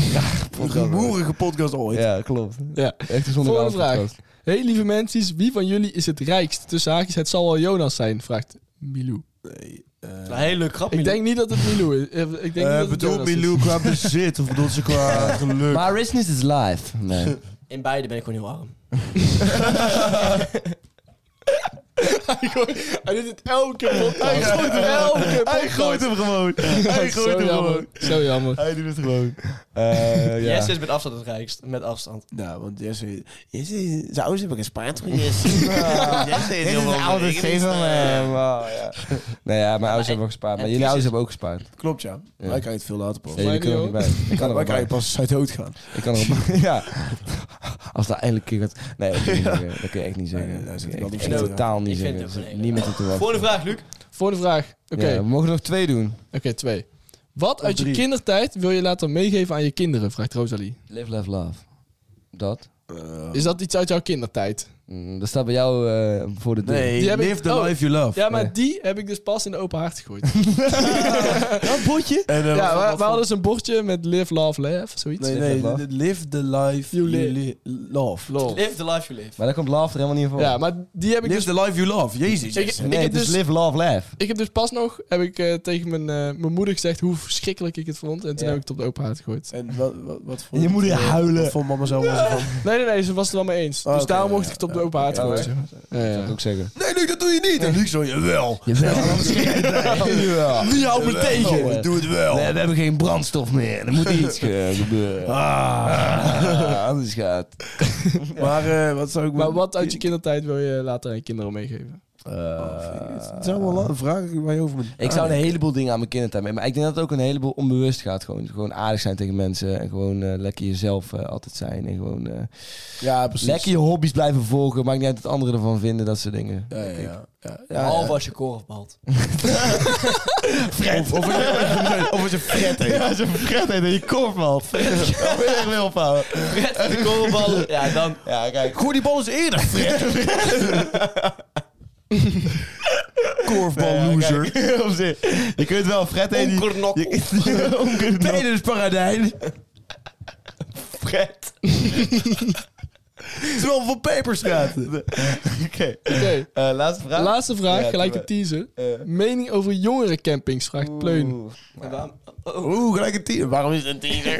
E: rumoerige podcast ooit.
B: Ja, klopt.
C: Ja.
B: Echt een zonder
C: Volgende vraag. Hey lieve mensen, wie van jullie is het rijkst? Tussen haakjes, het zal wel Jonas zijn, vraagt Milou.
D: Eh, Een hele leuke grap,
C: Ik
D: Milou.
C: denk niet dat het Milou is. Eh, Ik denk niet
E: Eh
C: dat het
E: bedoel
C: Jonas is.
E: Milou qua bezit of bedoelt ze qua geluk?
B: Maar business is live. Nee.
D: In beide ben ik gewoon heel arm.
C: Hij doet het elke podcast. Hij gooit hem elke podcast. Hij gooit hem gewoon. Hij gooit hem gewoon. Zo jammer.
B: Hij doet het gewoon.
D: Jij
B: Eh, ja.
D: Jesse is met afstand het rijkst. Met afstand.
E: Nou, want Jesse... Jesse zou ze hebben gespaard voor je.
B: Dit is een oude zin van hem. Oh, ja. Nee, ja, mijn ouders hebben wel gespaard. Maar
D: en
B: jullie
D: Chris
B: ouders
D: is-
B: hebben ook gespaard.
E: Klopt, ja. Wij krijgen het veel later pas.
B: Nee, jullie kunnen er niet bij. Ik kan er wel
E: Wij
B: bij.
E: krijgen pas als hij doodgaan.
B: Ik kan er wel bij. Ja. Als dat eindelijk keert. Nee, dat kun je, niet zeggen. dat kun je echt niet zeggen.
E: Nee, nee, daar zit ik wel
B: ik
E: op
B: echt
D: te wachten.
B: totaal niet
D: Ik vind
B: zeggen.
D: het ook een
B: Dat is Niemand die te wachten.
D: Volgende vraag, Luc.
C: Voor de vraag. Oké,
B: Ja, we mogen nog twee doen.
C: oké, twee. Wat uit je
E: drie.
C: kindertijd wil je later meegeven aan je kinderen? Vraagt Rosalie.
B: Live, love, love. Dat?
E: Eh, Nou.
C: Is dat iets uit jouw kindertijd?
B: Mm, dat staat bij jou eh, voor de deur.
E: Nee,
C: Die heb ik-
E: live the
C: oh.
E: life you love.
C: Ja, maar die heb ik dus pas in de open haard gegooid.
E: dat bordje? En, eh,
C: Ja,
E: wat-
C: we,
E: wat
C: we
E: voor-
C: hadden dus een bordje met live, love, laugh, zoiets.
E: Nee,
B: Live
E: nee,
B: the love.
E: li- live the life
C: You live.
E: you, li- love.
C: Lol.
D: Live the life you live.
B: Maar daar komt love er helemaal niet voor.
C: Ja, maar die heb ik
E: Live
C: dus...
E: the life you love. Jezus.
C: Ik-
E: Jesse.
C: ik
B: oh. nee,
C: heb
B: het is
C: dus-
B: live, love, laugh.
C: Ik heb dus pas nog heb ik, eh, tegen mijn, eh, mijn moeder gezegd hoe verschrikkelijk ik het vond. En toen
B: Ja.
C: heb ik het op de open haard gegooid.
E: En wat, wat, wat voor...
B: Je moet hier
E: eh,
B: huilen.
E: Wat voor mama zelf was er van...
C: Nee, nee, nee, ze was het wel mee eens. dus
E: Oh, oké,
C: daarom
E: ja,
C: mocht
E: ja,
C: ik het op de open haard
B: Ja,
C: gooien.
B: hoor.
C: Ja, ja.
B: Dat zou ik ook zeggen.
E: Nee, Luc, dat doe je niet. En Luc zo, jawel.
B: Die houdt me
E: Jawel, ik Doe het wel.
B: Nee, we hebben geen brandstof meer. Er moet iets ge- gebeuren. Ah, anders gaat.
E: Maar eh, wat zou ik...
C: Maar wat uit je kindertijd wil je later aan je kinderen meegeven?
E: Eh, Het zijn wel vragen waar je over moet... Ah,
B: Ik zou een heleboel dingen aan mijn kindertijd mee. Maar ik denk dat het ook een heleboel onbewust gaat. Gewoon, gewoon aardig zijn tegen mensen. En gewoon eh, lekker jezelf eh, altijd zijn. En gewoon eh,
E: Ja, precies.
B: lekker je hobby's blijven volgen. Maakt niet uit wat anderen ervan vinden. Dat soort dingen.
E: Ja, ja, ja. ja, ja, ja.
D: Behalve als je korf balt.
E: Of, of, of als je Fred heet.
B: Als je vergeet dat je kop valt. Dat wil je echt mee
C: Oh.
B: ophouden.
D: Fred de korfballen. Ja, dan.
B: Ja, kijk.
E: Gooi die bal eens eerder, Fred. Korfbal loser.
B: Op zich. Je kunt wel Fred heen. die-
D: Onkernok.
B: Je, Benen is paradijn.
D: Fred.
E: Het is wel van Peperstraat.
B: Oké.
C: Oké,
B: Eh, laatste vraag.
C: laatste vraag,
B: Ja,
C: gelijk
B: doe
C: de
B: maar.
C: teaser.
B: Eh.
C: Mening over jongerencampings, vraagt Pleun.
B: Oeh.
D: En waarom-
E: Oeh, gelijk een teaser. Waarom is het een teaser?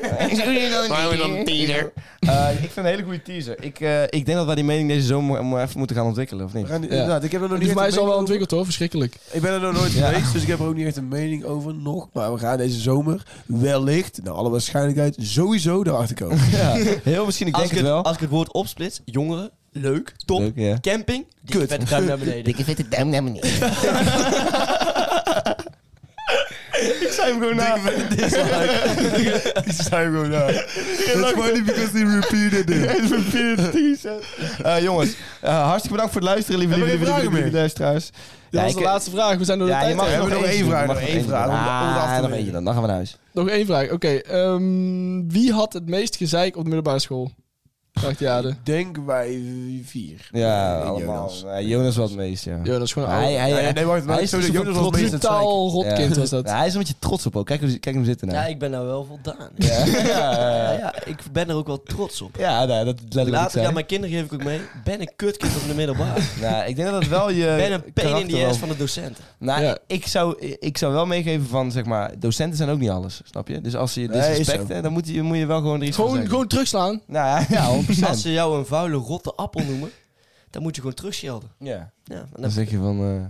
E: Waarom is dat een teaser?
B: Eh, ik vind een hele goede teaser. Ik, eh, ik denk dat wij die mening deze zomer mo- even moeten gaan ontwikkelen, of niet?
E: We gaan-
C: Ja.
E: inderdaad, ik heb er
C: Die
E: nog niet
C: voor mij
E: echt
C: is
E: een
C: al wel
E: mening
C: ontwikkeld hoor, verschrikkelijk.
E: over. Ik ben er nog nooit geweest, dus ik heb er ook niet echt een mening over nog. Maar we gaan deze zomer wellicht, naar alle waarschijnlijkheid, sowieso erachter komen.
B: Ja. Heel misschien, ik denk
D: Als ik
B: het wel.
D: het- als ik het woord opsplits, jongeren, leuk, top,
B: Leuk, ja.
D: camping, dikke vette duim naar beneden.
G: Dikke vette duim naar beneden.
D: Ik
B: Zijn hem gewoon na.
E: Die zijn gewoon daar. It's funny because he repeated it.
B: Eh, jongens, eh, hartstikke bedankt voor het luisteren, lieve, lieve,
E: Hebben
B: lieve,
E: we geen
B: lieve,
E: vragen
B: lieve luisteraars.
C: Dit was
B: ik-
C: de laatste vraag. We zijn door de tijd.
E: mag-
C: heen.
E: We hebben nog één vraag,
B: Mag
E: nog
B: er
E: één vraag, om de- om de af te
B: Ah, nog
E: winnen.
B: eentje dan. Dan gaan we naar huis.
C: Nog één vraag. Oké. ehm, wie had het meest gezeik op de middelbare school? Vraagt Jade.
E: Denk wij vier.
B: Ja,
E: Nee,
B: allemaal.
E: Eh, Jonas.
B: Nee, Jonas was het meest, ja.
C: Ja, dat is gewoon een
B: Hij,
C: oude-
B: hij,
E: Nee, nee, wacht.
B: hij
E: Hij
B: is
E: zo dat
B: super
E: Jonas was
B: trots.
E: meest het zeik.
C: brutaal rotkind was dat.
B: Ja, hij is een beetje trots op ook. Kijk, hoe- kijk hem zitten nou.
D: Ja, ik ben nou wel voldaan.
B: Ja, ja,
D: Ja,
B: ja, ja.
D: ja, ik ben er ook wel trots op.
B: Ja, nou, dat let ik ook
D: Later
B: zijn.
D: aan mijn kinderen geef ik ook mee. Ben een kutkind op de middelbare.
B: Nou, ik denk dat het wel je
D: Ben een pain in
B: karakter
D: the
B: wel-
D: ass van de docenten.
B: Nou,
C: Ja.
B: ik, zou, ik zou wel meegeven van, zeg maar, docenten zijn ook niet alles, snap je? Dus als ze je
E: Nee, is
B: disrespecten, dan moet je, moet je wel gewoon er iets van
C: Gewoon,
B: zeggen.
C: gewoon terugslaan.
B: Nou ja, ja 100
D: Als ze jou een vuile rotte appel noemen, dan moet je gewoon terugschelden.
B: Ja.
D: Ja, en
B: Dan
D: dan
B: zeg je van, eh nou,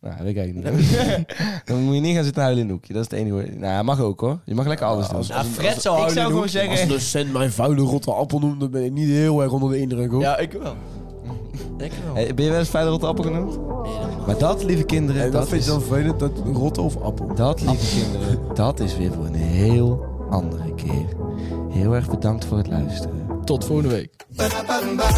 B: dat weet ik eigenlijk niet. dan moet je niet gaan zitten huilen in een hoekje, dat is het enige. Nou, mag ook hoor. Je mag lekker alles doen.
E: als-
D: Ja, Nou, Fred zou
B: ik
D: houden.
B: zou gewoon
E: Als een
B: zeggen...
E: docent mijn vuile rotte appel noemt, dan ben ik niet heel erg onder de indruk, hoor.
D: Ja, ik wel. Ik wel.
B: Oh. Hey, ben je wel eens vuile rotte appel genoemd? Maar dat, lieve kinderen,
E: En dat vind
B: is,
E: je dan vervelend, dat rotte of appel?
B: dat, lieve kinderen, dat is weer voor een heel andere keer. Heel erg bedankt voor het luisteren.
C: Tot volgende week.